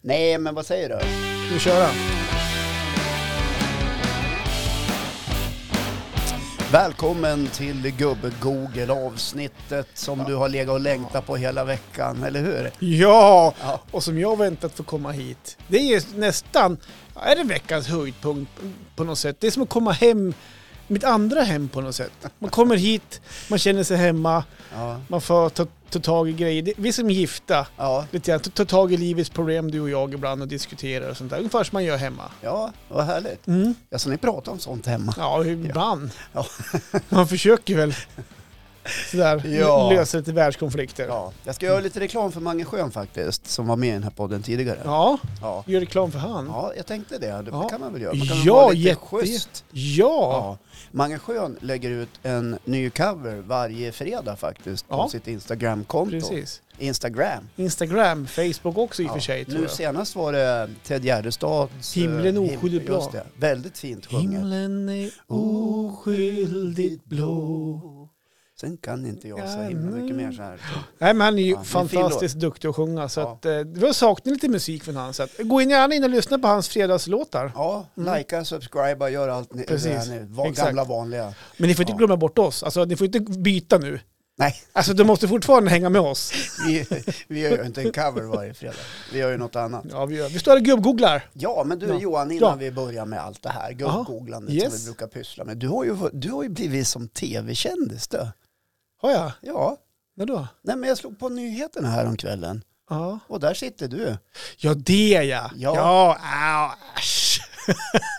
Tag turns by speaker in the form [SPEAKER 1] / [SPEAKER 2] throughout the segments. [SPEAKER 1] Nej, men vad säger du?
[SPEAKER 2] Ska vi köra?
[SPEAKER 1] Välkommen till Gubbe-Google avsnittet som du har legat och längtat på hela veckan, eller hur?
[SPEAKER 2] Ja!
[SPEAKER 1] Ja.
[SPEAKER 2] Och som jag har väntat för att komma hit. Det är ju nästan, ja, är det veckans höjdpunkt på något sätt? Det är som att komma hem, mitt andra hem på något sätt. Man kommer hit, man känner sig hemma,
[SPEAKER 1] Ja.
[SPEAKER 2] man får ta, ta tag i grejer. Det- Vi är som gifta,
[SPEAKER 1] Ja.
[SPEAKER 2] lite grann, ta, ta tag i livets problem du och jag ibland och diskuterar och sånt där. Ungefär som man gör hemma.
[SPEAKER 1] Ja, vad härligt.
[SPEAKER 2] Mm.
[SPEAKER 1] Ja, så ni pratar om sånt hemma?
[SPEAKER 2] Ja, ibland.
[SPEAKER 1] Ja.
[SPEAKER 2] Man försöker väl sådär,
[SPEAKER 1] Ja.
[SPEAKER 2] lösa lite världskonflikter.
[SPEAKER 1] Ja. Jag ska göra lite reklam för Mange Schön faktiskt, som var med i den här podden tidigare.
[SPEAKER 2] ja,
[SPEAKER 1] Ja,
[SPEAKER 2] gör reklam för han.
[SPEAKER 1] ja jag tänkte det. Det
[SPEAKER 2] Ja.
[SPEAKER 1] kan man väl göra? Man kan väl
[SPEAKER 2] Ja,
[SPEAKER 1] vara lite
[SPEAKER 2] jätte-
[SPEAKER 1] schysst.
[SPEAKER 2] Ja,
[SPEAKER 1] Ja. Mange Schön lägger ut en ny cover varje fredag faktiskt på
[SPEAKER 2] Ja.
[SPEAKER 1] sitt Instagram-konto.
[SPEAKER 2] precis.
[SPEAKER 1] Instagram.
[SPEAKER 2] Instagram, Facebook också i och för sig tror
[SPEAKER 1] nu
[SPEAKER 2] jag.
[SPEAKER 1] senast var det Ted Gärdestads... eh,
[SPEAKER 2] Himlen
[SPEAKER 1] him-
[SPEAKER 2] oskyldigt blå.
[SPEAKER 1] just det. Väldigt fint sjunget.
[SPEAKER 2] Himlen
[SPEAKER 1] Mm.
[SPEAKER 2] är oskyldigt blå.
[SPEAKER 1] Sen kan inte jag så himla mycket mer så här.
[SPEAKER 2] Nej men han är ju
[SPEAKER 1] Ja, det är fin
[SPEAKER 2] fantastiskt duktig att sjunga så
[SPEAKER 1] Ja.
[SPEAKER 2] att eh, vi har saknat lite musik från han så att gå in gärna in och lyssna på hans fredagslåtar.
[SPEAKER 1] Ja,
[SPEAKER 2] Mm.
[SPEAKER 1] likea, subscriba, gör allt ni,
[SPEAKER 2] Precis.
[SPEAKER 1] det här nu. Var,
[SPEAKER 2] Exakt.
[SPEAKER 1] gamla vanliga.
[SPEAKER 2] Men ni får inte
[SPEAKER 1] Ja.
[SPEAKER 2] glömma bort oss, alltså ni får inte byta nu.
[SPEAKER 1] Nej,
[SPEAKER 2] Alltså du måste fortfarande hänga med oss.
[SPEAKER 1] vi, vi gör ju inte en cover varje fredag. Vi gör ju något annat.
[SPEAKER 2] Ja vi gör. Vi står här och gubbgooglar.
[SPEAKER 1] Ja, men du
[SPEAKER 2] Ja.
[SPEAKER 1] Johan, innan
[SPEAKER 2] Ja.
[SPEAKER 1] vi börjar med allt det här
[SPEAKER 2] Aha.
[SPEAKER 1] googlandet som
[SPEAKER 2] Yes.
[SPEAKER 1] vi brukar pyssla med. Du har ju, du har ju blivit som tv-kändis du.
[SPEAKER 2] Har jag?
[SPEAKER 1] Ja,
[SPEAKER 2] När då?
[SPEAKER 1] nej men jag slog på nyheterna här om kvällen
[SPEAKER 2] Ja.
[SPEAKER 1] och där sitter du.
[SPEAKER 2] Ja, det ja.
[SPEAKER 1] Ja.
[SPEAKER 2] ja au, äsch.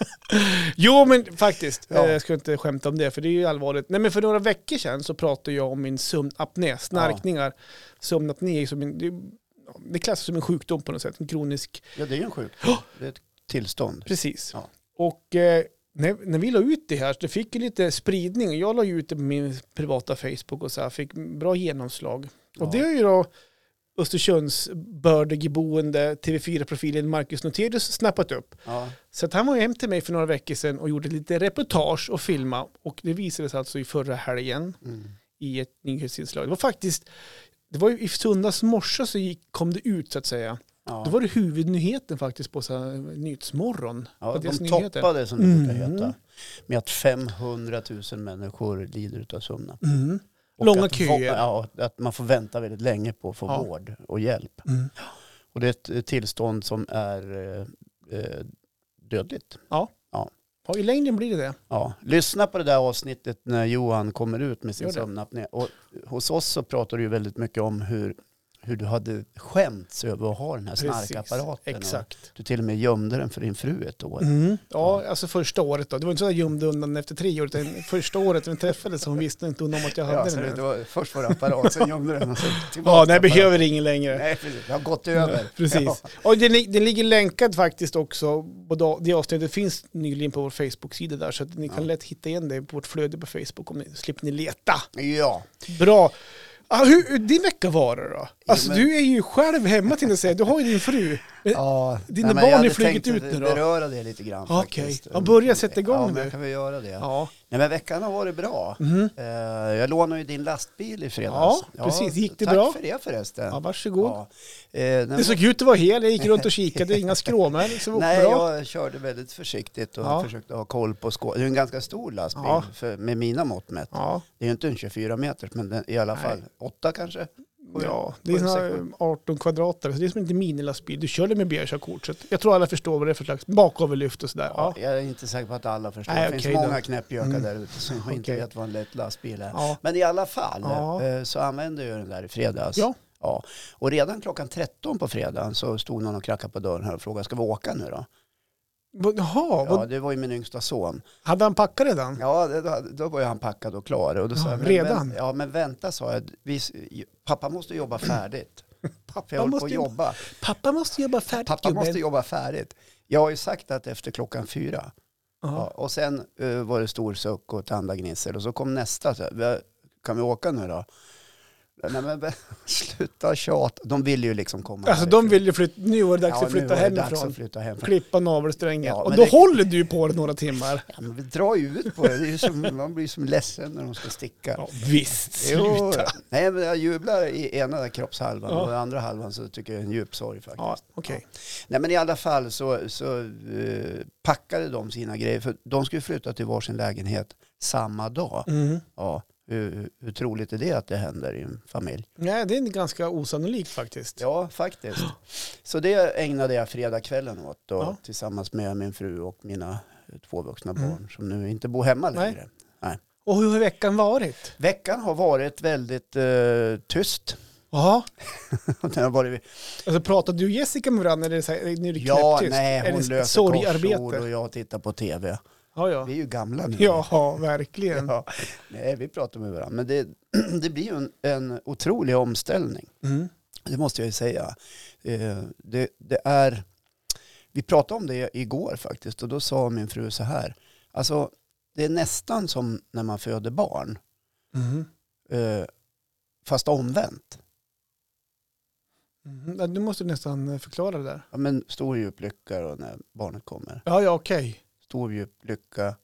[SPEAKER 2] jo, men faktiskt.
[SPEAKER 1] Ja.
[SPEAKER 2] eh, Jag ska inte skämta om det, för det är ju allvarligt. Nej, men för några veckor sedan så pratade jag om min sömnapné, snarkningar. Sömnapné är ju som en, det, ja, det klassas som en sjukdom på något sätt, en kronisk.
[SPEAKER 1] Ja, det är ju en sjukdom.
[SPEAKER 2] Ja.
[SPEAKER 1] Det är ett tillstånd.
[SPEAKER 2] Precis.
[SPEAKER 1] Ja.
[SPEAKER 2] Och eh, när, när vi la ut det här, så det fick ju lite spridning. Jag la ju ut det på min privata Facebook och så här, fick bra genomslag.
[SPEAKER 1] Ja.
[SPEAKER 2] Och det är ju då Östersunds bördegeboende TV4-profilen Marcus Noterius snappat upp.
[SPEAKER 1] Ja.
[SPEAKER 2] Så att han var ju hem till mig för några veckor sedan och gjorde lite reportage och filma. Och det visades alltså i förra helgen
[SPEAKER 1] Mm.
[SPEAKER 2] i ett nyhetsinslag. Det var faktiskt, det var ju i söndags morse så gick, kom det ut så att säga.
[SPEAKER 1] Ja.
[SPEAKER 2] Då var det huvudnyheten faktiskt på så här, Nyhetsmorgon.
[SPEAKER 1] Ja,
[SPEAKER 2] på
[SPEAKER 1] de
[SPEAKER 2] deras nyheter.
[SPEAKER 1] toppade som det brukar
[SPEAKER 2] Mm.
[SPEAKER 1] heta. Med att 500 000 människor lider av sömnapné.
[SPEAKER 2] Mm.
[SPEAKER 1] Och
[SPEAKER 2] Långa
[SPEAKER 1] att, va-
[SPEAKER 2] köer.
[SPEAKER 1] Ja, att man får vänta väldigt länge på att få
[SPEAKER 2] Ja.
[SPEAKER 1] vård och hjälp.
[SPEAKER 2] Mm.
[SPEAKER 1] Och det är ett eh, tillstånd som är eh, eh, dödligt.
[SPEAKER 2] Ja, I längden blir det det.
[SPEAKER 1] Ja. Lyssna på det där avsnittet när Johan kommer ut med sin
[SPEAKER 2] Gör det.
[SPEAKER 1] sömnapné. Och hos oss så pratar du ju väldigt mycket om hur, hur du hade skämts över att ha den här snarkapparaten. Och
[SPEAKER 2] Exakt.
[SPEAKER 1] Du till och med gömde den för din fru ett år.
[SPEAKER 2] Mm. Ja, alltså första året då. Det var inte så att jag gömde undan efter tre år, utan första året när vi träffades så hon visste inte hon om att jag hade
[SPEAKER 1] Ja, så
[SPEAKER 2] den.
[SPEAKER 1] det,
[SPEAKER 2] nu.
[SPEAKER 1] var, först var det apparat, sen gömde den och sen tillbaka.
[SPEAKER 2] Ja, nej, jag
[SPEAKER 1] apparaten.
[SPEAKER 2] behöver ingen längre.
[SPEAKER 1] Nej, precis. Det har gått över.
[SPEAKER 2] Precis. Och den, li- den ligger länkad faktiskt också. På da- det avsnittet finns nyligen på vår Facebook-sida där så att ni kan
[SPEAKER 1] Ja.
[SPEAKER 2] lätt hitta igen det på vårt flöde på Facebook om ni slipper ni leta.
[SPEAKER 1] Ja. ja.
[SPEAKER 2] Bra. Ah, hur, hur din vecka var det då? Alltså
[SPEAKER 1] men-
[SPEAKER 2] du är ju själv hemma till att säga. Du har ju din fru.
[SPEAKER 1] ja.
[SPEAKER 2] Eh, Dina
[SPEAKER 1] Nej, men
[SPEAKER 2] barn
[SPEAKER 1] jag
[SPEAKER 2] har
[SPEAKER 1] hade
[SPEAKER 2] flugit
[SPEAKER 1] tänkt
[SPEAKER 2] ut
[SPEAKER 1] att
[SPEAKER 2] nu då. Ah,
[SPEAKER 1] beröra det lite grann
[SPEAKER 2] Okej.
[SPEAKER 1] faktiskt.
[SPEAKER 2] Ja, börja sätta igång
[SPEAKER 1] Ja, men
[SPEAKER 2] nu.
[SPEAKER 1] jag kan väl göra det.
[SPEAKER 2] Ja,
[SPEAKER 1] Nej, men veckan har varit bra.
[SPEAKER 2] mm.
[SPEAKER 1] Eh, Jag lånade ju din lastbil i fredags.
[SPEAKER 2] ja precis. Gick det
[SPEAKER 1] tack
[SPEAKER 2] bra?
[SPEAKER 1] Tack för det förresten.
[SPEAKER 2] Ja, varsågod.
[SPEAKER 1] Ja. Eh, nej,
[SPEAKER 2] Det såg ut att vara hel. Jag gick runt och kikade. Inga skråmär. Så det var
[SPEAKER 1] Nej,
[SPEAKER 2] bra.
[SPEAKER 1] jag körde väldigt försiktigt och
[SPEAKER 2] Ja.
[SPEAKER 1] försökte ha koll på skål. Det är ju en ganska stor lastbil
[SPEAKER 2] Ja.
[SPEAKER 1] för, med mina mått mätt.
[SPEAKER 2] Ja.
[SPEAKER 1] Det är ju inte en 24 meter, men den, i alla
[SPEAKER 2] Nej.
[SPEAKER 1] fall åtta kanske. Sju.
[SPEAKER 2] Ja, det är
[SPEAKER 1] Sju
[SPEAKER 2] såna här 18 kvadrater. Så det är som inte minilastbil. Du kör det med B-körkort. så att Jag tror alla förstår vad det är för slags bakoverlyft och sådär.
[SPEAKER 1] Ja,
[SPEAKER 2] Ja.
[SPEAKER 1] jag är inte säker på att alla förstår.
[SPEAKER 2] Nej,
[SPEAKER 1] det finns
[SPEAKER 2] okej då.
[SPEAKER 1] många knäppjökar
[SPEAKER 2] Mm.
[SPEAKER 1] där ute som inte
[SPEAKER 2] Okej.
[SPEAKER 1] vet vad en lätt lastbil är.
[SPEAKER 2] Ja.
[SPEAKER 1] Men i alla fall
[SPEAKER 2] Ja.
[SPEAKER 1] eh, så använde jag den där i fredags.
[SPEAKER 2] Ja.
[SPEAKER 1] Ja. Och redan klockan 13 på fredagen så stod någon och knackade på dörren här och frågade, ska vi åka nu då?
[SPEAKER 2] Vad- Jaha,
[SPEAKER 1] Ja,
[SPEAKER 2] vad,
[SPEAKER 1] det var ju min yngsta son.
[SPEAKER 2] hade han packat redan?
[SPEAKER 1] Ja, det, då- då var ju han packad och klar. Och då sa
[SPEAKER 2] Ja,
[SPEAKER 1] jag, men
[SPEAKER 2] redan?
[SPEAKER 1] vänt- ja, men vänta sa jag. Vi, pappa måste jobba färdigt. För jag håller på
[SPEAKER 2] måste
[SPEAKER 1] att
[SPEAKER 2] jobba-
[SPEAKER 1] jobba.
[SPEAKER 2] Pappa måste jobba färdigt
[SPEAKER 1] Pappa måste
[SPEAKER 2] gubben.
[SPEAKER 1] jobba färdigt. Jag har ju sagt att efter klockan fyra. Ja,
[SPEAKER 2] Ja.
[SPEAKER 1] och sen eh, var det stor suck och tandagnissel och så kom nästa. Så, här, "Va, kan vi åka nu då? Nej, men, sluta tjata. De ville ju liksom komma
[SPEAKER 2] Alltså de
[SPEAKER 1] härifrån.
[SPEAKER 2] vill ju flytta, nu var det dags
[SPEAKER 1] Ja,
[SPEAKER 2] att flytta
[SPEAKER 1] nu var det dags
[SPEAKER 2] hemifrån.
[SPEAKER 1] att flytta hemifrån.
[SPEAKER 2] Klippa navelsträngen.
[SPEAKER 1] Ja,
[SPEAKER 2] och
[SPEAKER 1] men
[SPEAKER 2] då
[SPEAKER 1] det-
[SPEAKER 2] håller du ju på det några timmar.
[SPEAKER 1] Ja, men vi drar ju ut på det. det är ju som, man blir som ledsen när de ska sticka.
[SPEAKER 2] Ja, visst,
[SPEAKER 1] Jo,
[SPEAKER 2] sluta.
[SPEAKER 1] nej, men jag jublar i ena kroppshalvan
[SPEAKER 2] Ja.
[SPEAKER 1] och i andra halvan så tycker jag är en djup sorg faktiskt.
[SPEAKER 2] Ja, okej.
[SPEAKER 1] Nej, men i alla fall så, så eh, packade de sina grejer. För de skulle flytta till varsin lägenhet samma dag.
[SPEAKER 2] Mm.
[SPEAKER 1] Ja, hur, hur troligt är det att det händer i en familj?
[SPEAKER 2] Nej, det är ganska osannolikt faktiskt.
[SPEAKER 1] Ja, faktiskt. Så det ägnade jag fredagskvällen åt då,
[SPEAKER 2] Ja.
[SPEAKER 1] tillsammans med min fru och mina eh, två vuxna
[SPEAKER 2] Mm.
[SPEAKER 1] barn som nu inte bor hemma
[SPEAKER 2] Nej.
[SPEAKER 1] längre.
[SPEAKER 2] Och hur har veckan varit?
[SPEAKER 1] Veckan har varit väldigt eh, tyst.
[SPEAKER 2] Ja,
[SPEAKER 1] Den har varit
[SPEAKER 2] alltså pratar du och Jessica med varandra? Eller är det, så här, är det
[SPEAKER 1] Ja,
[SPEAKER 2] knäpptyst?
[SPEAKER 1] nej,
[SPEAKER 2] är
[SPEAKER 1] hon
[SPEAKER 2] det
[SPEAKER 1] löser
[SPEAKER 2] sorgarbete?
[SPEAKER 1] korsord och jag tittar på tv.
[SPEAKER 2] Ja, ja.
[SPEAKER 1] Vi är ju gamla nu.
[SPEAKER 2] Ja, verkligen.
[SPEAKER 1] Ja. Nej, vi pratar med varandra. Men det, det blir ju en, en otrolig omställning.
[SPEAKER 2] Mm.
[SPEAKER 1] Det måste jag ju säga. Eh, det, det är... Vi pratade om det igår faktiskt och då sa min fru så här. Alltså, det är nästan som när man föder barn,
[SPEAKER 2] Mm.
[SPEAKER 1] eh, fast omvänt.
[SPEAKER 2] Mm. Ja, Du måste nästan förklara det där.
[SPEAKER 1] Ja, men stor djup lycka då när barnet kommer.
[SPEAKER 2] Ja, ja, okej.
[SPEAKER 1] Stor djup lycka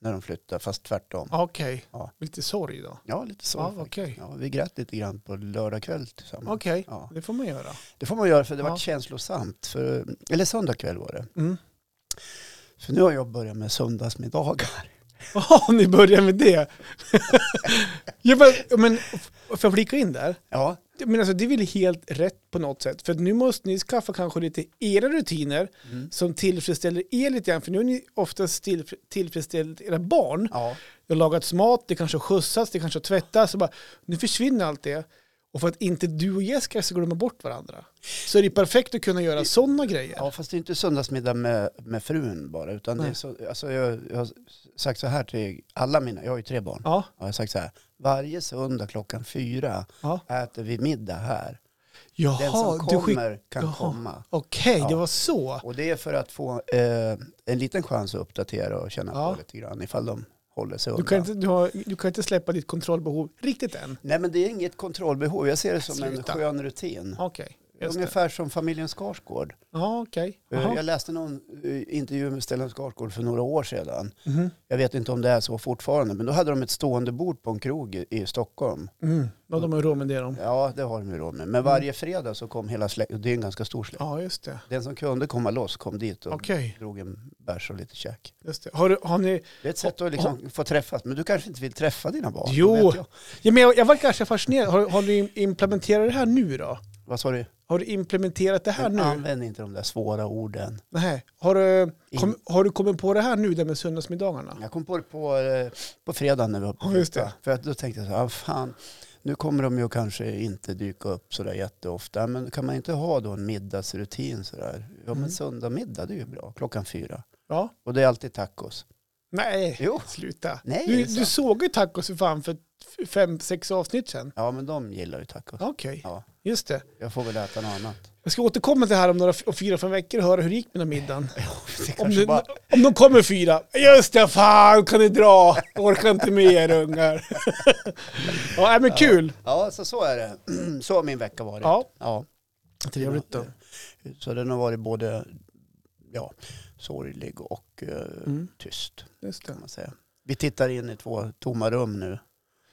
[SPEAKER 1] när de flyttar, fast tvärtom.
[SPEAKER 2] Ja, Okej.
[SPEAKER 1] Ja.
[SPEAKER 2] Lite sorg då.
[SPEAKER 1] Ja, lite så.
[SPEAKER 2] Ja,
[SPEAKER 1] faktiskt.
[SPEAKER 2] okej.
[SPEAKER 1] Ja, vi grät lite grann på lördag kväll tillsammans.
[SPEAKER 2] Okej,
[SPEAKER 1] Ja.
[SPEAKER 2] det får man göra.
[SPEAKER 1] Det får man göra för det var
[SPEAKER 2] Ja.
[SPEAKER 1] känslosamt. För, eller söndag kväll var det.
[SPEAKER 2] Mm.
[SPEAKER 1] För nu har jag börjat med söndagsmiddagar.
[SPEAKER 2] Ja, ni börjar med det. jag bara, men, f- får jag flika in där?
[SPEAKER 1] Ja,
[SPEAKER 2] Men alltså, det är väl helt rätt på något sätt. För att nu måste ni skaffa kanske lite era rutiner
[SPEAKER 1] mm.
[SPEAKER 2] som tillfredsställer er lite grann. För nu har ni oftast tillf- tillfredsställt era barn.
[SPEAKER 1] ja.
[SPEAKER 2] Det har lagats mat, det kanske har skjutsats, det kanske har tvättats. Och bara, nu försvinner allt det. Och för att inte du och Jessica ska glömma bort varandra så är det perfekt att kunna göra sådana grejer.
[SPEAKER 1] ja fast det är inte söndagsmiddag med, med frun bara. Utan det är
[SPEAKER 2] Nej.
[SPEAKER 1] så, alltså jag, jag har sagt så här till alla mina, jag har ju tre barn.
[SPEAKER 2] Ja,
[SPEAKER 1] Jag har sagt så här, varje söndag klockan fyra
[SPEAKER 2] ja.
[SPEAKER 1] äter vi middag här. Den
[SPEAKER 2] Jaha,
[SPEAKER 1] som
[SPEAKER 2] du skickar...
[SPEAKER 1] kommer kan
[SPEAKER 2] Jaha.
[SPEAKER 1] komma.
[SPEAKER 2] Okej, det
[SPEAKER 1] Ja.
[SPEAKER 2] var så.
[SPEAKER 1] Och det är för att få eh, en liten chans att uppdatera och känna
[SPEAKER 2] Ja.
[SPEAKER 1] på lite grann ifall de håller sig
[SPEAKER 2] Du
[SPEAKER 1] undan.
[SPEAKER 2] kan, inte, du, har, du kan inte släppa ditt kontrollbehov riktigt än.
[SPEAKER 1] Nej men det är inget kontrollbehov, jag ser det som
[SPEAKER 2] Sluta.
[SPEAKER 1] en skön rutin.
[SPEAKER 2] Okej, just det.
[SPEAKER 1] Ungefär som familjen Skarsgård.
[SPEAKER 2] Ja, okej.
[SPEAKER 1] Eh,
[SPEAKER 2] Jaha.
[SPEAKER 1] Jag läste någon eh, intervju med Stellan Skarsgård för några år sedan.
[SPEAKER 2] Mhm.
[SPEAKER 1] Jag vet inte om det är så fortfarande, men då hade de ett stående bord på en krog i- i Stockholm.
[SPEAKER 2] Mm. Ja, de har ju råd med det de.
[SPEAKER 1] Ja, det har de ju råd med. Men varje fredag så kom hela släkten, det är en ganska stor släkt.
[SPEAKER 2] Mm. Ja, just det.
[SPEAKER 1] Den som kunde komma loss kom dit och
[SPEAKER 2] Okej,
[SPEAKER 1] drog en bärs och lite käk.
[SPEAKER 2] just det. Har, du- har ni...
[SPEAKER 1] Det är ett sätt att liksom få träffas, men du kanske inte vill träffa dina barn?
[SPEAKER 2] Jo.
[SPEAKER 1] vad vet jag.
[SPEAKER 2] Ja, men jag, jag var ganska fascinerad. Har, har du implementerat det här nu då?
[SPEAKER 1] Vad sa du?
[SPEAKER 2] Har du implementerat det här
[SPEAKER 1] Men
[SPEAKER 2] nu?
[SPEAKER 1] använd inte de där svåra orden.
[SPEAKER 2] Nej. Har du,
[SPEAKER 1] In-
[SPEAKER 2] kom, har du kommit på det här nu, det med söndagsmiddagarna?
[SPEAKER 1] Jag kom på det på, eh, på fredag när vi var på
[SPEAKER 2] Ja, just det.
[SPEAKER 1] flytta. För att då tänkte jag så här, ah, fan, nu kommer de ju kanske inte dyka upp sådär jätteofta. Men kan man inte ha då en middagsrutin sådär? Ja,
[SPEAKER 2] Mm.
[SPEAKER 1] men söndag middag, det är ju bra. Klockan fyra.
[SPEAKER 2] Ja.
[SPEAKER 1] Och det är alltid tacos.
[SPEAKER 2] Nej,
[SPEAKER 1] Jo.
[SPEAKER 2] sluta.
[SPEAKER 1] Nej, det
[SPEAKER 2] Du,
[SPEAKER 1] är
[SPEAKER 2] du
[SPEAKER 1] sant.
[SPEAKER 2] såg ju tacos för fan för f- fem, sex avsnitt sedan.
[SPEAKER 1] Ja, men de gillar ju tacos.
[SPEAKER 2] Okej,
[SPEAKER 1] Ja,
[SPEAKER 2] just det.
[SPEAKER 1] jag får väl äta något annat.
[SPEAKER 2] Jag ska återkomma till det här om några f- om fyra, fem veckor och höra hur det gick med den här middagen.
[SPEAKER 1] Det
[SPEAKER 2] Om,
[SPEAKER 1] kanske
[SPEAKER 2] du,
[SPEAKER 1] bara,
[SPEAKER 2] om de kommer fyra, just det, fan kan ni dra, jag orkar inte med er ungar. ja, nej, men kul.
[SPEAKER 1] ja, så så är det. Så har min vecka varit.
[SPEAKER 2] Ja,
[SPEAKER 1] ja.
[SPEAKER 2] trevligt då.
[SPEAKER 1] Så den har varit både ja, sorglig och eh,
[SPEAKER 2] Mm,
[SPEAKER 1] tyst.
[SPEAKER 2] just det.
[SPEAKER 1] Kan man säga. Vi tittar in i två tomma rum
[SPEAKER 2] Mm.
[SPEAKER 1] nu.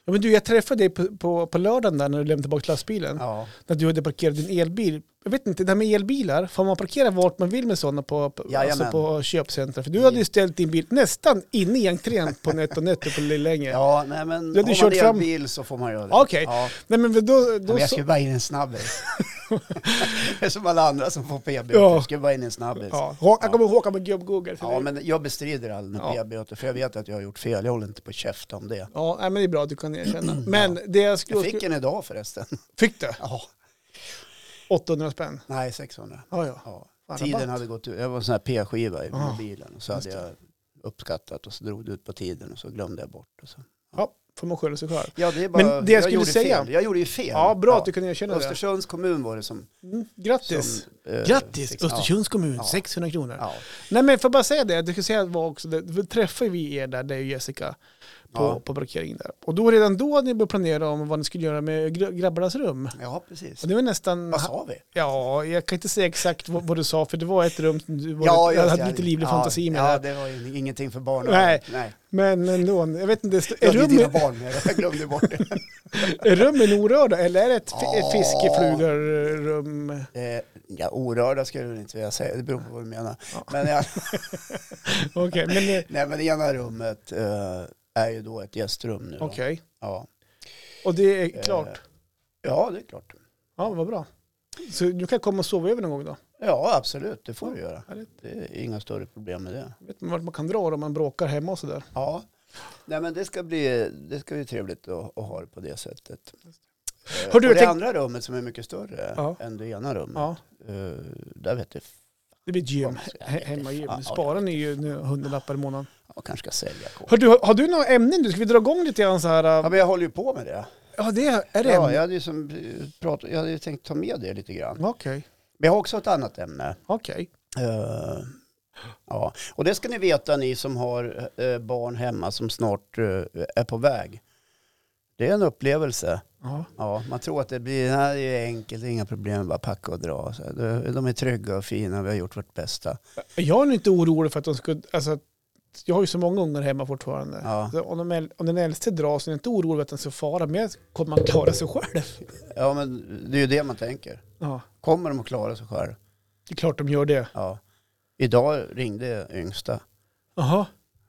[SPEAKER 2] Ja, men du, jag träffade dig på, på, på lördagen där när du lämnade tillbaka lastbilen.
[SPEAKER 1] Ja.
[SPEAKER 2] När du hade parkerat din elbil. Jag vet inte, det här med elbilar, får man parkera vart man vill med sådana på, på, alltså
[SPEAKER 1] Jajamän. Mm.
[SPEAKER 2] på köpcentra? För du hade ju ställt din bil nästan inne i entrén på NetOnNet på Lillänge.
[SPEAKER 1] Ja, nej men
[SPEAKER 2] Du
[SPEAKER 1] om
[SPEAKER 2] hade
[SPEAKER 1] man
[SPEAKER 2] kört
[SPEAKER 1] är
[SPEAKER 2] fram-
[SPEAKER 1] en bil så får man göra det.
[SPEAKER 2] Okej.
[SPEAKER 1] Ja.
[SPEAKER 2] Nej men då, då
[SPEAKER 1] Men jag
[SPEAKER 2] så-
[SPEAKER 1] skulle bara in en snabbis. Det är som alla andra som får PB.
[SPEAKER 2] Ja.
[SPEAKER 1] Jag skulle bara in en snabbis. Ja.
[SPEAKER 2] Ja, Hå- jag kommer Håkan med gubb-Google. för dig.
[SPEAKER 1] men jag bestrider all
[SPEAKER 2] Ja.
[SPEAKER 1] ja. p-böter för jag vet att jag har gjort fel. Jag håller inte på att käfta om det.
[SPEAKER 2] Ja, nej, men det är bra att du kan erkänna. Men det jag skulle...
[SPEAKER 1] Jag fick en idag förresten.
[SPEAKER 2] Fick du?
[SPEAKER 1] Ja.
[SPEAKER 2] 800 spänn?
[SPEAKER 1] Nej, 600.
[SPEAKER 2] Ja, ja.
[SPEAKER 1] Ja.
[SPEAKER 2] Fan, rabatt.
[SPEAKER 1] Tiden hade gått ut. Jag var en sån här p-skiva i
[SPEAKER 2] Ja,
[SPEAKER 1] mobilen. Och så
[SPEAKER 2] just
[SPEAKER 1] hade jag uppskattat och så drog det ut på tiden och så glömde jag bort. Och så.
[SPEAKER 2] Ja, får man skylla sig själv.
[SPEAKER 1] Ja, det är bara,
[SPEAKER 2] Men det jag skulle
[SPEAKER 1] gjorde
[SPEAKER 2] säga-
[SPEAKER 1] Fel. Jag gjorde ju fel.
[SPEAKER 2] Ja, bra att du kunde erkänna det.
[SPEAKER 1] Östersunds kommun var det som...
[SPEAKER 2] Mm,
[SPEAKER 1] som
[SPEAKER 2] grattis!
[SPEAKER 1] eh,
[SPEAKER 2] Grattis
[SPEAKER 1] fick- ja.
[SPEAKER 2] Östersunds kommun,
[SPEAKER 1] Ja.
[SPEAKER 2] 600 kronor.
[SPEAKER 1] Ja.
[SPEAKER 2] Nej men får bara säga det, du ska säga att var också, det, vi träffade vi er där, det är ju Jessica, på på,
[SPEAKER 1] Ja.
[SPEAKER 2] på parkeringen där. Och då redan då hade ni börjat planera om vad ni skulle göra med gr- grabbarnas rum.
[SPEAKER 1] Ja, precis.
[SPEAKER 2] Och det var nästan...
[SPEAKER 1] Vad sa vi?
[SPEAKER 2] Ja, jag kan inte säga exakt vad, vad du sa, för det var ett rum som du var,
[SPEAKER 1] just
[SPEAKER 2] jag hade
[SPEAKER 1] det.
[SPEAKER 2] lite livlig
[SPEAKER 1] ja,
[SPEAKER 2] fantasi med.
[SPEAKER 1] Ja,
[SPEAKER 2] det.
[SPEAKER 1] det var ju ingenting för barn.
[SPEAKER 2] Nej.
[SPEAKER 1] Nej.
[SPEAKER 2] Men ändå, jag vet inte,
[SPEAKER 1] Jag
[SPEAKER 2] är
[SPEAKER 1] hade ju dina
[SPEAKER 2] rummen,
[SPEAKER 1] barn med jag glömde bort det.
[SPEAKER 2] är rummen orörda eller är det ett, fi- ett
[SPEAKER 1] Ja.
[SPEAKER 2] fiskeflugarrum?
[SPEAKER 1] Eh, ja, orörda skulle jag väl inte vilja säga, det beror på vad du menar.
[SPEAKER 2] Ja.
[SPEAKER 1] Men, jag,
[SPEAKER 2] Okej, men... eh,
[SPEAKER 1] nej, men det ena rummet eh, är ju då ett gästrum nu. då.
[SPEAKER 2] Okej,
[SPEAKER 1] Ja.
[SPEAKER 2] och det är klart.
[SPEAKER 1] Eh, ja, det är klart.
[SPEAKER 2] Ja, vad bra. Så du kan komma och sova över någon gång då?
[SPEAKER 1] Ja, absolut, det får du göra.
[SPEAKER 2] Härligt.
[SPEAKER 1] Det är inga större problem med det.
[SPEAKER 2] Vet man vart man kan dra om man bråkar hemma och sådär?
[SPEAKER 1] Ja, nej, men det ska bli, det ska bli trevligt att, att ha det på det sättet. Eh,
[SPEAKER 2] Har du
[SPEAKER 1] och det
[SPEAKER 2] tänkt-
[SPEAKER 1] andra rummet som är mycket större
[SPEAKER 2] Ja.
[SPEAKER 1] än det ena rummet,
[SPEAKER 2] Ja,
[SPEAKER 1] eh, där vet jag
[SPEAKER 2] det blir gym.
[SPEAKER 1] Ja,
[SPEAKER 2] He- Hemma gym.
[SPEAKER 1] ja, ja.
[SPEAKER 2] Sparar ni ju nu hundralappar i månaden.
[SPEAKER 1] jag kanske ska sälja kort.
[SPEAKER 2] Hör du, har du några ämnen du? Ska vi dra igång lite grann så här?
[SPEAKER 1] Ja,
[SPEAKER 2] eh,
[SPEAKER 1] men jag håller ju på med det.
[SPEAKER 2] Ja, det är, är det
[SPEAKER 1] Ja, jag
[SPEAKER 2] ämnen?
[SPEAKER 1] hade ju som pratat, jag hade ju tänkt ta med det lite grann.
[SPEAKER 2] Okej,
[SPEAKER 1] Men jag har också ett annat ämne.
[SPEAKER 2] okej.
[SPEAKER 1] Eh, ja. Och det ska ni veta ni som har eh, barn hemma som snart eh, är på väg. Det är en upplevelse.
[SPEAKER 2] Ja.
[SPEAKER 1] Ja, man tror att det blir, nej, det är enkelt, det är inga problem, bara packa och dra. Så de- de är trygga och fina, vi har gjort vårt bästa.
[SPEAKER 2] Jag är nog inte orolig för att de skulle, alltså, att- jag har ju så många ungar hemma fortfarande.
[SPEAKER 1] Ja.
[SPEAKER 2] Så om, de, äl- om den äldste dras så är jag inte orolig för att den ska fara, men jag kommer man klara sig själv?
[SPEAKER 1] Ja, men det är ju det man tänker.
[SPEAKER 2] Ja,
[SPEAKER 1] Kommer de att klara sig själv?
[SPEAKER 2] det är klart de gör det.
[SPEAKER 1] Ja. Idag ringde yngsta.
[SPEAKER 2] Jaha,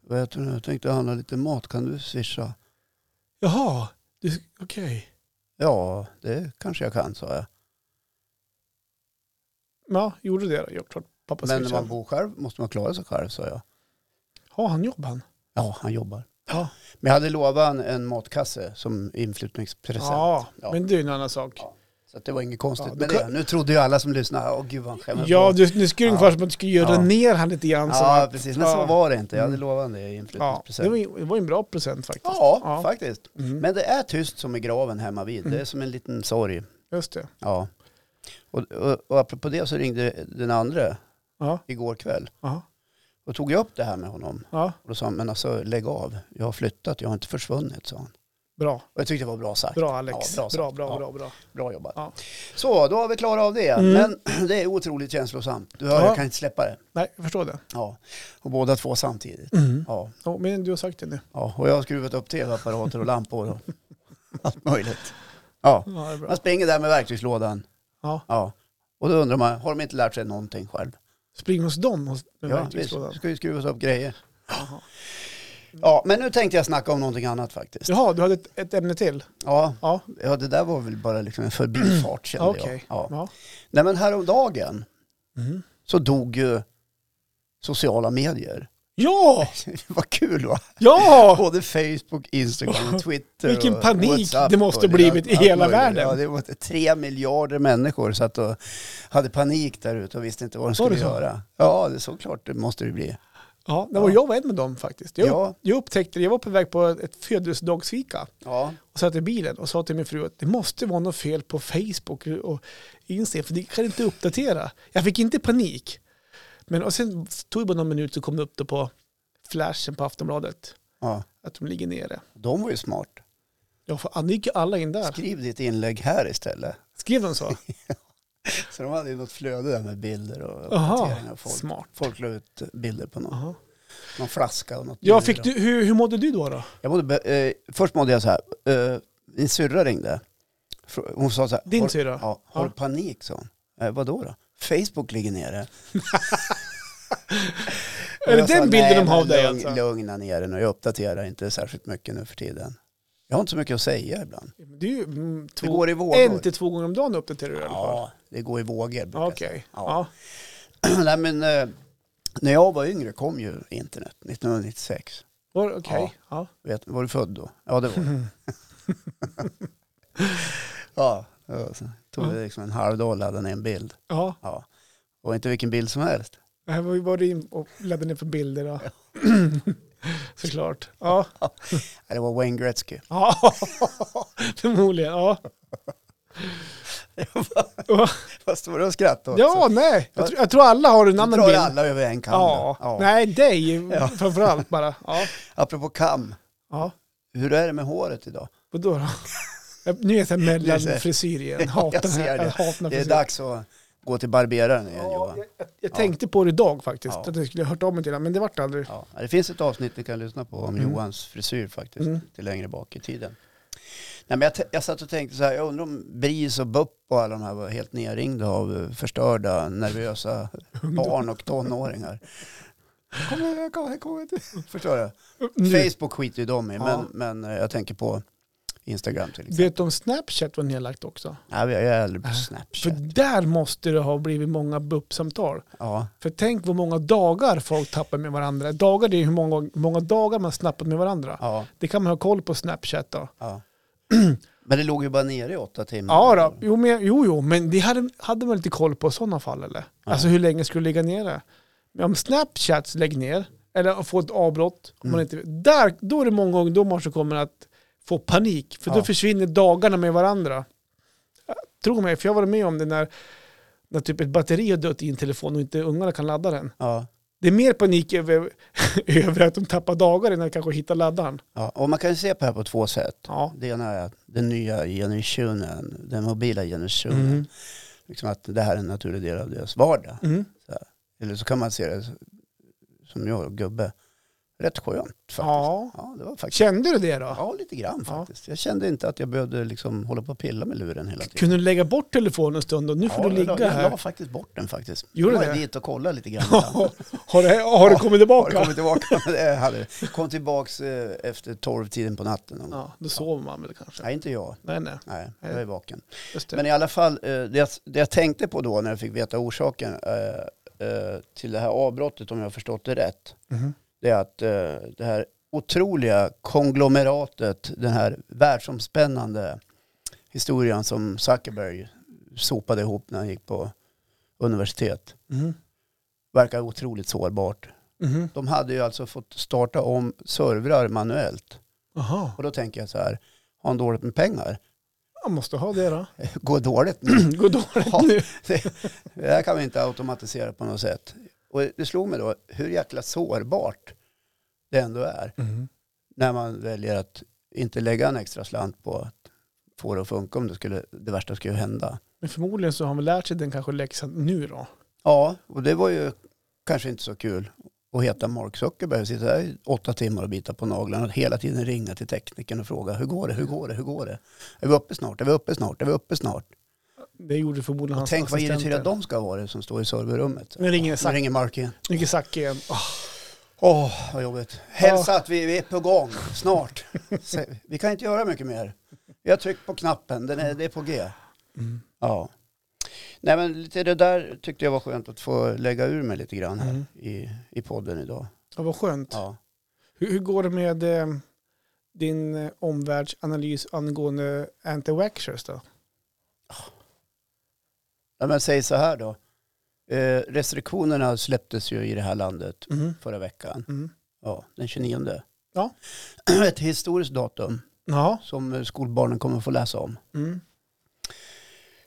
[SPEAKER 1] Vet du, jag tänkte handla lite mat, kan du swisha?
[SPEAKER 2] jaha, Du- okej.
[SPEAKER 1] Ja, det kanske jag kan, sa jag.
[SPEAKER 2] Ja, gjorde det då? Ja, klart. Pappa
[SPEAKER 1] Men
[SPEAKER 2] ska
[SPEAKER 1] när
[SPEAKER 2] köra.
[SPEAKER 1] man bor själv måste man klara sig själv, sa jag.
[SPEAKER 2] Har han jobb han?
[SPEAKER 1] Ja, han jobbar.
[SPEAKER 2] Ja.
[SPEAKER 1] Men jag hade lovat en, en matkasse som inflyttningspresent.
[SPEAKER 2] Ja,
[SPEAKER 1] Ja.
[SPEAKER 2] men det är en annan sak.
[SPEAKER 1] Ja, Så att det var inget konstigt
[SPEAKER 2] Ja, då
[SPEAKER 1] med
[SPEAKER 2] kan-
[SPEAKER 1] det. Nu trodde ju alla som lyssnade, åh gud vad han skämmer
[SPEAKER 2] Ja,
[SPEAKER 1] på."
[SPEAKER 2] du, nu skulle
[SPEAKER 1] Ja.
[SPEAKER 2] ungefär som att du skulle göra
[SPEAKER 1] Ja.
[SPEAKER 2] ner han lite grann. som
[SPEAKER 1] ja
[SPEAKER 2] att-
[SPEAKER 1] precis. Men så var det inte. Jag hade
[SPEAKER 2] Mm.
[SPEAKER 1] lovat en det i
[SPEAKER 2] ja, det,
[SPEAKER 1] inflyttningspresent.
[SPEAKER 2] var, ju- det var ju en bra present faktiskt.
[SPEAKER 1] Ja,
[SPEAKER 2] Ja.
[SPEAKER 1] faktiskt.
[SPEAKER 2] Mm.
[SPEAKER 1] Men det är tyst som i graven hemma vid. Det är som en liten sorg.
[SPEAKER 2] Just det.
[SPEAKER 1] Ja. Och, och, och apropå det så ringde den andra
[SPEAKER 2] Ja,
[SPEAKER 1] igår kväll.
[SPEAKER 2] ja,
[SPEAKER 1] Och tog jag upp det här med honom.
[SPEAKER 2] ja.
[SPEAKER 1] Och då sa han, men alltså lägg av. Jag har flyttat, jag har inte försvunnit, sa han.
[SPEAKER 2] Bra.
[SPEAKER 1] Och jag tyckte det var bra sagt.
[SPEAKER 2] Bra Alex.
[SPEAKER 1] Ja, bra
[SPEAKER 2] bra,
[SPEAKER 1] sagt.
[SPEAKER 2] bra,
[SPEAKER 1] Ja.
[SPEAKER 2] bra, bra.
[SPEAKER 1] Bra jobbat.
[SPEAKER 2] Ja.
[SPEAKER 1] Så, då har vi klarat av det.
[SPEAKER 2] Mm.
[SPEAKER 1] Men det är otroligt känslosamt. Du hör,
[SPEAKER 2] Ja.
[SPEAKER 1] jag kan inte släppa det.
[SPEAKER 2] Nej, jag förstår det.
[SPEAKER 1] Ja. Och båda två samtidigt. Ja.
[SPEAKER 2] Ja, men du har sagt det nu.
[SPEAKER 1] ja. Och jag har skruvat upp tv-apparater och lampor och allt möjligt. Ja.
[SPEAKER 2] Ja, det är bra.
[SPEAKER 1] Man springer där med verktygslådan.
[SPEAKER 2] Ja.
[SPEAKER 1] Ja. Och då undrar man, har de inte lärt sig någonting själv?
[SPEAKER 2] Spring hos dem hos, med
[SPEAKER 1] Ja, visst.
[SPEAKER 2] verktygslådan.
[SPEAKER 1] Ska ju skruvas upp grejer.
[SPEAKER 2] Jaha.
[SPEAKER 1] Ja, men nu tänkte jag snacka om någonting annat faktiskt.
[SPEAKER 2] Jaha, du hade ett, ett ämne till?
[SPEAKER 1] Ja,
[SPEAKER 2] Ja,
[SPEAKER 1] ja det där var väl bara liksom en förbifart kände
[SPEAKER 2] okej.
[SPEAKER 1] jag. Ja.
[SPEAKER 2] Ja.
[SPEAKER 1] Nej, men häromdagen
[SPEAKER 2] Mm.
[SPEAKER 1] så dog ju sociala medier.
[SPEAKER 2] ja,
[SPEAKER 1] Vad kul va?
[SPEAKER 2] ja,
[SPEAKER 1] Både Facebook, Instagram, och Twitter
[SPEAKER 2] Vilken
[SPEAKER 1] och
[SPEAKER 2] panik
[SPEAKER 1] WhatsApp
[SPEAKER 2] det måste
[SPEAKER 1] och
[SPEAKER 2] blivit i
[SPEAKER 1] allt
[SPEAKER 2] hela
[SPEAKER 1] möjligt.
[SPEAKER 2] världen.
[SPEAKER 1] Ja, det var tre miljarder människor satt och hade panik där ute och visste inte vad de skulle
[SPEAKER 2] det så?
[SPEAKER 1] göra. Ja, det är såklart det måste det bli.
[SPEAKER 2] ja. Det var
[SPEAKER 1] Ja.
[SPEAKER 2] jag var en med dem faktiskt. Jag,
[SPEAKER 1] Ja.
[SPEAKER 2] jag upptäckte, jag var på väg på ett födelsedagsfika.
[SPEAKER 1] Ja,
[SPEAKER 2] och satt i bilen och sa till min fru att det måste vara något fel på Facebook och Instagram för det kan inte uppdatera. Jag fick inte panik. Men och sen tog det bara någon minut så kom det upp det på flashen på Aftonbladet
[SPEAKER 1] ja.
[SPEAKER 2] att de ligger nere.
[SPEAKER 1] De var ju smart.
[SPEAKER 2] Jag får, nu gick ju alla in där.
[SPEAKER 1] Skriv ditt inlägg här istället.
[SPEAKER 2] Skrev de så?
[SPEAKER 1] Så de hade ju något flöde där med bilder och uppdateringar.
[SPEAKER 2] Jaha,
[SPEAKER 1] och Folk,
[SPEAKER 2] smart.
[SPEAKER 1] folk la ut bilder på någon,
[SPEAKER 2] Jaha.
[SPEAKER 1] någon flaska och något.
[SPEAKER 2] Ja,
[SPEAKER 1] djur
[SPEAKER 2] fick
[SPEAKER 1] och-
[SPEAKER 2] du, hur, hur mådde du då? då?
[SPEAKER 1] Jag mådde, be- eh, först mådde jag så här. Eh, min syrra ringde. Fr- Hon sa så här.
[SPEAKER 2] Din
[SPEAKER 1] "Har-
[SPEAKER 2] syrra?
[SPEAKER 1] Ja, har du
[SPEAKER 2] Ja.
[SPEAKER 1] panik sa hon. Eh, vadå då? Facebook ligger nere. Och
[SPEAKER 2] Är det
[SPEAKER 1] jag sa, "Nej,
[SPEAKER 2] den bilden de
[SPEAKER 1] men
[SPEAKER 2] har av dig
[SPEAKER 1] lugn,
[SPEAKER 2] alltså?
[SPEAKER 1] Lugna ner dig nu. Jag uppdaterar inte särskilt mycket nu för tiden. Jag har inte så mycket att säga ibland.
[SPEAKER 2] Det är ju mm,
[SPEAKER 1] Det
[SPEAKER 2] två,
[SPEAKER 1] går i vågor.
[SPEAKER 2] en till två gånger om dagen uppdaterar du i alla fall.
[SPEAKER 1] Ja, det går i vågor. brukar
[SPEAKER 2] Ja,
[SPEAKER 1] jag
[SPEAKER 2] Okej.
[SPEAKER 1] Ja.
[SPEAKER 2] Ja.
[SPEAKER 1] säga. Nej, men, eh, när jag var yngre kom ju internet 1996.
[SPEAKER 2] Var- Okej. Ja.
[SPEAKER 1] Vet, var du född då? Ja, det var jag. ja, ja, så tog det liksom en halv dag att ladda ner en bild.
[SPEAKER 2] Ja.
[SPEAKER 1] Ja. Och inte vilken bild som helst.
[SPEAKER 2] Det här var ju bara in och laddade ner för bilder. Då. Såklart. Ja.
[SPEAKER 1] Nej, Det var Wayne Gretzky.
[SPEAKER 2] ja. Förmodligen. Ja.
[SPEAKER 1] Vad står du och skrattar åt?
[SPEAKER 2] ja, nej. Jag, tror- jag tror alla har en
[SPEAKER 1] Så
[SPEAKER 2] annan
[SPEAKER 1] drar
[SPEAKER 2] bild.
[SPEAKER 1] alla över en kam.
[SPEAKER 2] Ja.
[SPEAKER 1] Ja. Ja.
[SPEAKER 2] Nej, dig
[SPEAKER 1] Ja.
[SPEAKER 2] framförallt bara. Ja.
[SPEAKER 1] Apropå kam,
[SPEAKER 2] Ja.
[SPEAKER 1] Hur är det med håret idag?
[SPEAKER 2] Vadå då? Jag- Nu är jag så här mellan
[SPEAKER 1] Du ser.
[SPEAKER 2] frisyr igen. Hatar
[SPEAKER 1] Jag
[SPEAKER 2] den
[SPEAKER 1] ser
[SPEAKER 2] här,
[SPEAKER 1] det.
[SPEAKER 2] jag hatar den
[SPEAKER 1] Det
[SPEAKER 2] här
[SPEAKER 1] är
[SPEAKER 2] frisyren.
[SPEAKER 1] dags att gå till barberaren igen
[SPEAKER 2] Ja,
[SPEAKER 1] Johan.
[SPEAKER 2] jag, jag, jag
[SPEAKER 1] Ja.
[SPEAKER 2] tänkte på det idag faktiskt,
[SPEAKER 1] Ja.
[SPEAKER 2] att jag skulle ha hört av mig till honom, men det vart aldrig.
[SPEAKER 1] Ja, det finns ett avsnitt ni kan lyssna på om
[SPEAKER 2] Mm.
[SPEAKER 1] Johans frisyr faktiskt,
[SPEAKER 2] Mm.
[SPEAKER 1] lite längre bak i tiden. Nej, men jag, t- jag satt och tänkte så här, jag undrar om BRIS och BUP och alla de här var helt nerringda av eh, förstörda, nervösa barn och tonåringar. Kom igen, kom igen, kom igen. Förstår du?
[SPEAKER 2] Nu,
[SPEAKER 1] Facebook skiter ju de i,
[SPEAKER 2] Ja.
[SPEAKER 1] men, men eh, jag tänker på Instagram till exempel.
[SPEAKER 2] vet du om Snapchat vad ni har lagt också?
[SPEAKER 1] Nej, jag är aldrig på
[SPEAKER 2] Äh, För
[SPEAKER 1] Snapchat.
[SPEAKER 2] där måste det ha blivit många BUP-samtal.
[SPEAKER 1] Ja,
[SPEAKER 2] För tänk vad många dagar folk tappar med varandra. Dagar det är hur många, många dagar man snappat med varandra.
[SPEAKER 1] ja, Mm.
[SPEAKER 2] Det kan man ha koll på Snapchat då.
[SPEAKER 1] ja. Men det låg ju bara nere i åtta timmar.
[SPEAKER 2] Ja då, jo, men, jo, jo men det hade, hade man lite koll på i sådana fall eller?
[SPEAKER 1] Ja.
[SPEAKER 2] Alltså hur länge skulle det ligga nere? Men om Snapchat lägger ner, eller får ett avbrott, om man inte,
[SPEAKER 1] Mm.
[SPEAKER 2] där, då är det många ungdomar som kommer att få panik, för då
[SPEAKER 1] Ja.
[SPEAKER 2] försvinner dagarna med varandra. Tro mig, för jag var med om det när, när typ ett batteri har dött i en telefon och inte ungarna kan ladda den.
[SPEAKER 1] Ja.
[SPEAKER 2] Det är mer panik över, över att de tappar dagar innan de kanske hittar laddaren.
[SPEAKER 1] Ja, och man kan ju se på det här på två sätt.
[SPEAKER 2] Ja.
[SPEAKER 1] Det ena är att den nya generationen, den mobila generationen,
[SPEAKER 2] Mm.
[SPEAKER 1] liksom att det här är en naturlig del av deras vardag.
[SPEAKER 2] Mm.
[SPEAKER 1] Eller så kan man se det som jag och gubbe, rätt skönt faktiskt. Ja,
[SPEAKER 2] ja.
[SPEAKER 1] det var faktiskt.
[SPEAKER 2] Kände du det då?
[SPEAKER 1] Ja, lite grann
[SPEAKER 2] Ja.
[SPEAKER 1] faktiskt. Jag kände inte att jag behövde liksom hålla på och pilla med luren hela tiden.
[SPEAKER 2] Kunde du lägga bort telefonen en stund och nu får
[SPEAKER 1] ja,
[SPEAKER 2] du
[SPEAKER 1] jag la-
[SPEAKER 2] ligga
[SPEAKER 1] Jag
[SPEAKER 2] här?
[SPEAKER 1] la faktiskt bort den faktiskt.
[SPEAKER 2] Gjorde
[SPEAKER 1] jag
[SPEAKER 2] du
[SPEAKER 1] var
[SPEAKER 2] det?
[SPEAKER 1] dit och kollade lite grann. ibland.
[SPEAKER 2] har det, har det
[SPEAKER 1] Ja,
[SPEAKER 2] kommit
[SPEAKER 1] Har
[SPEAKER 2] tillbaka?
[SPEAKER 1] kommit tillbaka? Det hade- Kom tillbaka efter tolvtiden på natten. någon gång.
[SPEAKER 2] Ja, då sover man väl kanske.
[SPEAKER 1] Nej, inte jag.
[SPEAKER 2] Nej, nej.
[SPEAKER 1] Nej, jag är vaken.
[SPEAKER 2] Just det.
[SPEAKER 1] Men i alla fall, eh, det jag, det jag tänkte på då när jag fick veta orsaken eh, eh, till det här avbrottet, om jag har förstått det rätt,
[SPEAKER 2] Mhm.
[SPEAKER 1] det är att eh, det här otroliga konglomeratet, den här världsomspännande historien som Zuckerberg sopade ihop när han gick på universitet,
[SPEAKER 2] Mhm.
[SPEAKER 1] verkar otroligt sårbart.
[SPEAKER 2] Mhm.
[SPEAKER 1] De hade ju alltså fått starta om servrar manuellt.
[SPEAKER 2] Jaha,
[SPEAKER 1] Och då tänker jag så här, har han dåligt med pengar?
[SPEAKER 2] jag måste ha det då.
[SPEAKER 1] Går dåligt nu?
[SPEAKER 2] Går dåligt
[SPEAKER 1] Ja.
[SPEAKER 2] nu.
[SPEAKER 1] Det här kan vi inte automatisera på något sätt. Och det slog mig då hur jäkla sårbart det ändå är
[SPEAKER 2] Mhm.
[SPEAKER 1] när man väljer att inte lägga en extra slant på att få det att funka om det, skulle, det värsta skulle hända.
[SPEAKER 2] Men förmodligen så har han väl lärt sig den kanske läxan nu då.
[SPEAKER 1] Ja, och det var ju kanske inte så kul att heta Mark Zuckerberg och sitta där i åtta timmar och bita på naglarna och hela tiden ringa till teknikern och fråga hur går det, hur går det, hur går det? Är vi uppe snart, är vi uppe snart, är vi uppe snart?
[SPEAKER 2] Det gjorde förmodligen hans
[SPEAKER 1] Tänk vad
[SPEAKER 2] assistenter.
[SPEAKER 1] irriterade de ska vara det som står i serverrummet.
[SPEAKER 2] Nu ringer
[SPEAKER 1] Nu
[SPEAKER 2] Zack.
[SPEAKER 1] ringer Mark igen.
[SPEAKER 2] Ringer Zack igen. Ah. Åh,
[SPEAKER 1] Åh, vad jobbigt. Hälsa att vi, vi är på gång snart. Se- Vi kan inte göra mycket mer. Vi har tryckt på knappen, Den är, det är på G.
[SPEAKER 2] Mm.
[SPEAKER 1] Ja. Nej men lite det där tyckte jag var skönt att få lägga ur mig lite grann här
[SPEAKER 2] Mm.
[SPEAKER 1] i, i podden idag.
[SPEAKER 2] Ja, vad skönt.
[SPEAKER 1] Ja.
[SPEAKER 2] Hur, hur går det med eh, din eh, omvärldsanalys angående anti-waxers då?
[SPEAKER 1] Ja, men säg så här då. Eh, restriktionerna släpptes ju i det här landet
[SPEAKER 2] Mhm.
[SPEAKER 1] förra veckan.
[SPEAKER 2] Mm.
[SPEAKER 1] Ja, den 29.
[SPEAKER 2] Ja.
[SPEAKER 1] Ett historiskt datum
[SPEAKER 2] Ja.
[SPEAKER 1] som eh, skolbarnen kommer få läsa om.
[SPEAKER 2] Mm.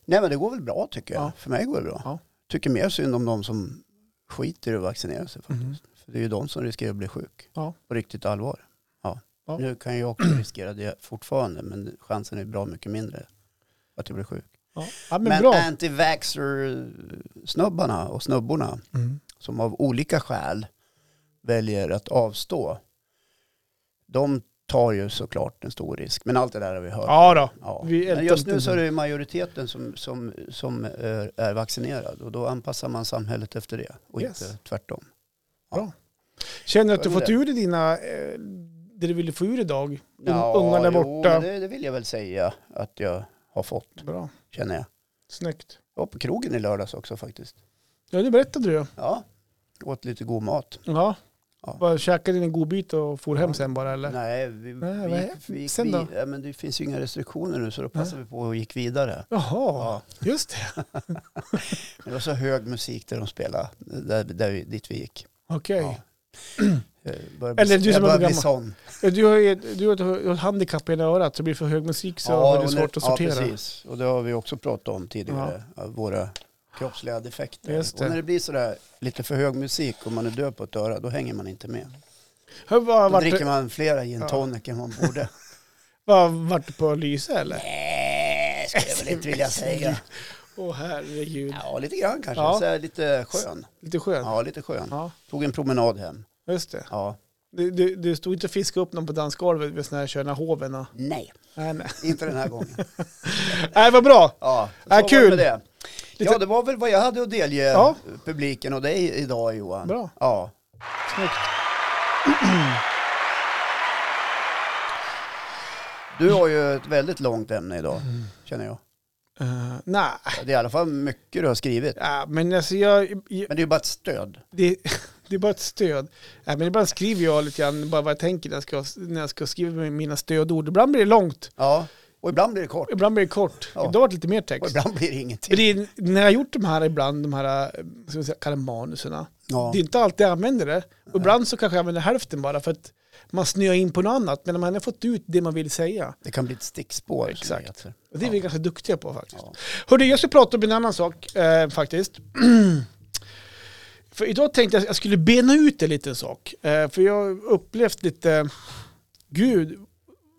[SPEAKER 1] Nej men det går väl bra tycker jag.
[SPEAKER 2] Ja.
[SPEAKER 1] För mig går det bra.
[SPEAKER 2] Ja.
[SPEAKER 1] Tycker mer synd om de som skiter i att vaccinera sig faktiskt.
[SPEAKER 2] Mhm.
[SPEAKER 1] För det är ju de som riskerar att bli sjuk.
[SPEAKER 2] Ja.
[SPEAKER 1] På riktigt allvar. Ja.
[SPEAKER 2] Ja.
[SPEAKER 1] Nu kan jag också riskera det fortfarande men chansen är bra mycket mindre att jag blir sjuk.
[SPEAKER 2] Ja. ja, men,
[SPEAKER 1] Men, eh,
[SPEAKER 2] bra.
[SPEAKER 1] anti-vaxxer-snubbarna och snubborna
[SPEAKER 2] Mm.
[SPEAKER 1] som av olika skäl väljer att avstå. De tar ju såklart en stor risk. Men allt det där har vi hört.
[SPEAKER 2] Ja då.
[SPEAKER 1] Ja.
[SPEAKER 2] Vi ältar
[SPEAKER 1] Men just
[SPEAKER 2] inte
[SPEAKER 1] nu
[SPEAKER 2] det.
[SPEAKER 1] så är det ju majoriteten som, som, som är, är vaccinerad och då anpassar man samhället efter det och
[SPEAKER 2] Yes.
[SPEAKER 1] inte tvärtom.
[SPEAKER 2] Känner du att du
[SPEAKER 1] Vad är
[SPEAKER 2] fått
[SPEAKER 1] det?
[SPEAKER 2] ur dig dina, eh, det du ville få ur idag? Un-
[SPEAKER 1] Ja,
[SPEAKER 2] Ungarna är
[SPEAKER 1] jo,
[SPEAKER 2] borta.
[SPEAKER 1] men det, det vill jag väl säga att jag har fått,
[SPEAKER 2] Bra,
[SPEAKER 1] känner jag.
[SPEAKER 2] snyggt.
[SPEAKER 1] Jag var på krogen i lördags också faktiskt.
[SPEAKER 2] Ja, det berättade du ju.
[SPEAKER 1] Ja, åt lite god mat.
[SPEAKER 2] Ja.
[SPEAKER 1] Ja.
[SPEAKER 2] Bara käkade din godbit och for hem
[SPEAKER 1] Ja.
[SPEAKER 2] sen bara eller?
[SPEAKER 1] Nej, vi,
[SPEAKER 2] Nej,
[SPEAKER 1] vi,
[SPEAKER 2] vad
[SPEAKER 1] gick-
[SPEAKER 2] är-
[SPEAKER 1] vi, gick
[SPEAKER 2] sen
[SPEAKER 1] vi,
[SPEAKER 2] då?
[SPEAKER 1] ja, men det finns ju inga restriktioner nu så då passade vi på och gick vidare.
[SPEAKER 2] Jaha,
[SPEAKER 1] Ja,
[SPEAKER 2] just det.
[SPEAKER 1] men det var så hög musik där de spelade, där, där vi, dit vi gick.
[SPEAKER 2] Okej.
[SPEAKER 1] Ja. Jag börjar
[SPEAKER 2] Eller du
[SPEAKER 1] bli, jag
[SPEAKER 2] som är
[SPEAKER 1] börjar bli
[SPEAKER 2] gammal.
[SPEAKER 1] sån.
[SPEAKER 2] Du, har ju ett, du har ett- ett handikapp i ena örat så blir det för hög musik så har du
[SPEAKER 1] och
[SPEAKER 2] svårt
[SPEAKER 1] nu-
[SPEAKER 2] att sortera.
[SPEAKER 1] Ja, precis. Och det har vi också pratat om tidigare, våra kroppsliga defekter.
[SPEAKER 2] Just det.
[SPEAKER 1] Och när det blir sådär lite för hög musik och man är döv på ett öra, då hänger man inte med.
[SPEAKER 2] Hör, vad,
[SPEAKER 1] Då
[SPEAKER 2] vart,
[SPEAKER 1] dricker man flera gin
[SPEAKER 2] Ja.
[SPEAKER 1] tonic än man borde.
[SPEAKER 2] Vad, vart du på att lysa eller?
[SPEAKER 1] Nej, skulle jag väl inte vilja säga.
[SPEAKER 2] Åh herregud.
[SPEAKER 1] Ja, lite grann kanske.
[SPEAKER 2] Ja.
[SPEAKER 1] Så här, lite skön.
[SPEAKER 2] Lite skönt. Ja.
[SPEAKER 1] Ja, lite skön. Tog en promenad hem.
[SPEAKER 2] just det.
[SPEAKER 1] Ja.
[SPEAKER 2] Du, du, du stod inte och fiskade upp någon på dansgolvet vid sådana här sköna hoven? och-
[SPEAKER 1] Nej,
[SPEAKER 2] Nej, nej.
[SPEAKER 1] inte den här gången.
[SPEAKER 2] nej, vad bra.
[SPEAKER 1] Ja, så
[SPEAKER 2] Ja,
[SPEAKER 1] var det
[SPEAKER 2] kul.
[SPEAKER 1] med Det.
[SPEAKER 2] Lite-
[SPEAKER 1] Ja, det var väl vad jag hade att delge
[SPEAKER 2] Ja.
[SPEAKER 1] publiken och dig idag Johan.
[SPEAKER 2] Bra.
[SPEAKER 1] Ja.
[SPEAKER 2] Snyggt.
[SPEAKER 1] Du har ju ett väldigt långt ämne idag, känner jag.
[SPEAKER 2] Eh, nej,
[SPEAKER 1] Det är i alla fall mycket du har skrivit.
[SPEAKER 2] Ja, men alltså jag, jag,
[SPEAKER 1] Men det är ju bara ett stöd.
[SPEAKER 2] det, det är bara ett stöd. Nej, men ibland skriver jag lite grann bara vad jag tänker när jag ska, när jag ska skriva mina stödord. Ibland blir det långt,
[SPEAKER 1] Ja, och ibland blir det kort
[SPEAKER 2] ibland blir det kort.
[SPEAKER 1] Ja.
[SPEAKER 2] Idag var det lite mer
[SPEAKER 1] och
[SPEAKER 2] text.
[SPEAKER 1] ibland blir det ingenting.
[SPEAKER 2] Men Det är, när jag har gjort de här ibland, de här eh, ska vi säga, kalla det manuserna,
[SPEAKER 1] Ja.
[SPEAKER 2] det är inte alltid jag använder det. Och ibland så kanske jag använder hälften bara för att man snöar in på något annat. Men man har fått ut det man vill säga.
[SPEAKER 1] Det kan bli ett stickspår. som
[SPEAKER 2] Exakt.
[SPEAKER 1] det heter.
[SPEAKER 2] Och det är vi ganska duktiga på faktiskt.
[SPEAKER 1] Ja.
[SPEAKER 2] Hörru, jag ska prata om en annan sak eh, faktiskt. för idag tänkte jag att jag skulle bena ut en liten sak. Eh, för jag har upplevt lite, gud,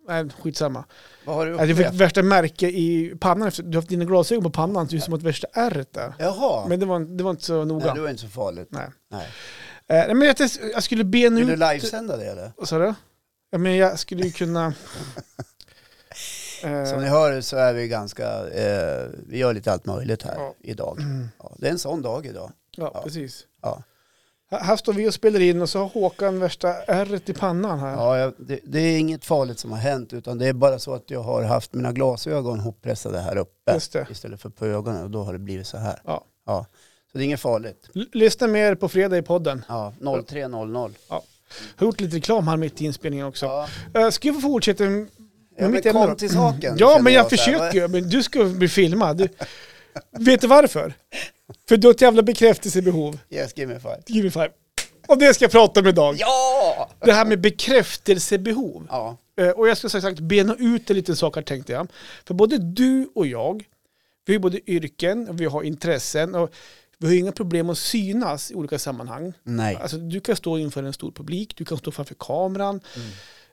[SPEAKER 2] nej skitsamma.
[SPEAKER 1] Vad har du
[SPEAKER 2] Jag fick
[SPEAKER 1] upplevt?
[SPEAKER 2] värsta märke i pannan, efter, du har haft dina glasögon på pannan, så det är som att värsta ärret där.
[SPEAKER 1] Jaha,
[SPEAKER 2] Men det var, det var inte så
[SPEAKER 1] Nej,
[SPEAKER 2] noga.
[SPEAKER 1] det var inte så farligt.
[SPEAKER 2] Nej.
[SPEAKER 1] Nej.
[SPEAKER 2] Eh, nej, men jag, tänkte- jag skulle bena
[SPEAKER 1] Vill
[SPEAKER 2] ut...
[SPEAKER 1] du livesända det eller?
[SPEAKER 2] Vad sa du? Ja, men jag skulle ju kunna... Eh,
[SPEAKER 1] Som ni hör så är vi ganska, eh, vi gör lite allt möjligt här
[SPEAKER 2] Ja. Mm.
[SPEAKER 1] idag. Ja, det är en sån dag idag.
[SPEAKER 2] ja,
[SPEAKER 1] ja.
[SPEAKER 2] precis.
[SPEAKER 1] Ja.
[SPEAKER 2] Här- Här står vi och spelar in och så har Håkan värsta ärret i pannan här.
[SPEAKER 1] Ja, jag, det, det är inget farligt som har hänt utan det är bara så att jag har haft mina glasögon hoppressade här uppe
[SPEAKER 2] Just det.
[SPEAKER 1] istället för på ögonen och då har det blivit så här.
[SPEAKER 2] Ja.
[SPEAKER 1] Ja. Så det är inget farligt.
[SPEAKER 2] L- Lyssna mer på fredag i podden.
[SPEAKER 1] Ja, 03.00.
[SPEAKER 2] Har gjort lite reklam här mitt i inspelningen också.
[SPEAKER 1] Ja.
[SPEAKER 2] Eh, ska vi få fortsätta med
[SPEAKER 1] Ja, men
[SPEAKER 2] mitt ämne
[SPEAKER 1] kom
[SPEAKER 2] då?
[SPEAKER 1] till saken.
[SPEAKER 2] Ja,
[SPEAKER 1] känner
[SPEAKER 2] men jag
[SPEAKER 1] så här.
[SPEAKER 2] försöker ju. Men du ska bli filmad. Du- Vet du varför? För du har ett jävla bekräftelsebehov.
[SPEAKER 1] Yes, give me five.
[SPEAKER 2] Give me five. Och det ska jag prata om idag.
[SPEAKER 1] Ja!
[SPEAKER 2] Det här med bekräftelsebehov.
[SPEAKER 1] Ja,
[SPEAKER 2] Eh, Och jag ska som sagt bena ut en liten sak här tänkte jag. För både du och jag, vi har både yrken, och vi har intressen och vi har inga problem att synas i olika sammanhang.
[SPEAKER 1] nej.
[SPEAKER 2] Alltså, du kan stå inför en stor publik, du kan stå framför kameran.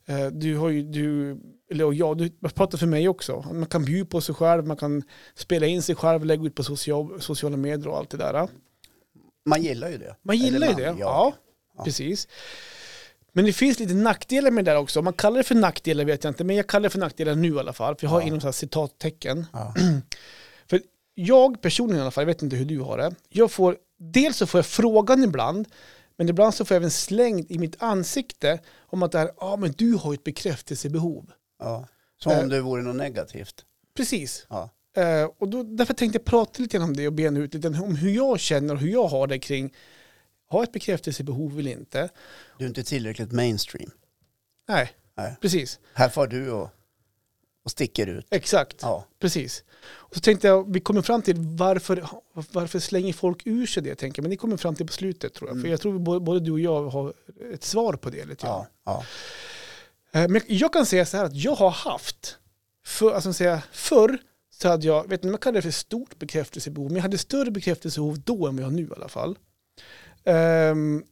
[SPEAKER 2] Eh, Du har ju, du, eller och jag, du jag pratar för mig också. Man kan bjuda på sig själv, man kan spela in sig själv, lägga ut på social, sociala medier och allt det där.
[SPEAKER 1] Man gillar ju det.
[SPEAKER 2] Man gillar ju
[SPEAKER 1] Eller
[SPEAKER 2] det.
[SPEAKER 1] man,
[SPEAKER 2] Ja,
[SPEAKER 1] Ja.
[SPEAKER 2] precis. Men det finns lite nackdelar med det där också. Om Man kallar det för nackdelar vet jag inte, men jag kallar det för nackdelar nu i alla fall. För jag har
[SPEAKER 1] Ja.
[SPEAKER 2] inom så här citattecken.
[SPEAKER 1] Ja.
[SPEAKER 2] För jag personligen i alla fall, jag vet inte hur du har det. Jag får, dels så får jag frågan ibland, men ibland så får jag även slängt i mitt ansikte om att det här, ah, men du har ju ett bekräftelsebehov.
[SPEAKER 1] Ja. Som
[SPEAKER 2] Eh.
[SPEAKER 1] om det vore något negativt.
[SPEAKER 2] Precis.
[SPEAKER 1] Ja.
[SPEAKER 2] Eh, och då, därför tänkte jag prata lite grann om det och bena ut lite om hur jag känner och hur jag har det kring, har jag ett bekräftelsebehov eller inte?
[SPEAKER 1] Du är inte tillräckligt mainstream.
[SPEAKER 2] Nej,
[SPEAKER 1] Nej.
[SPEAKER 2] precis.
[SPEAKER 1] Här får du och, och sticker ut.
[SPEAKER 2] Exakt,
[SPEAKER 1] Ja.
[SPEAKER 2] precis. Och så tänkte jag, vi kommer fram till varför, varför slänger folk ur sig det, tänker jag. Men det kommer vi fram till på slutet tror jag. För jag tror vi både, både du och jag har ett svar på det lite grann.
[SPEAKER 1] Ja. Ja.
[SPEAKER 2] Eh, Men jag kan säga så här att jag har haft, för, alltså, säga, förr så hade jag, vet ni, man kallar det för stort bekräftelsebehov, men jag hade större bekräftelsebehov då än vad jag har nu i alla fall. Ehm,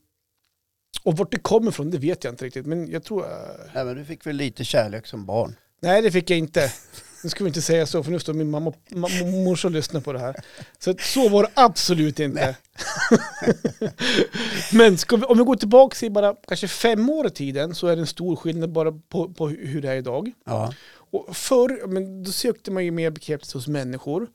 [SPEAKER 2] och vart det kommer ifrån, det vet jag inte riktigt, men jag tror... eh,
[SPEAKER 1] Nej, men du fick väl lite kärlek som barn.
[SPEAKER 2] Nej, det fick jag inte. Nu ska vi inte säga så, för nu står min mamma ma- morsa och lyssnar på det här. Så, att så var det absolut inte. Men ska vi, om vi går tillbaka till bara kanske fem år i tiden så är det en stor skillnad bara på, på hu- hur det är idag.
[SPEAKER 1] Ja.
[SPEAKER 2] Och förr, men då sökte man ju mer bekräftelse hos människor.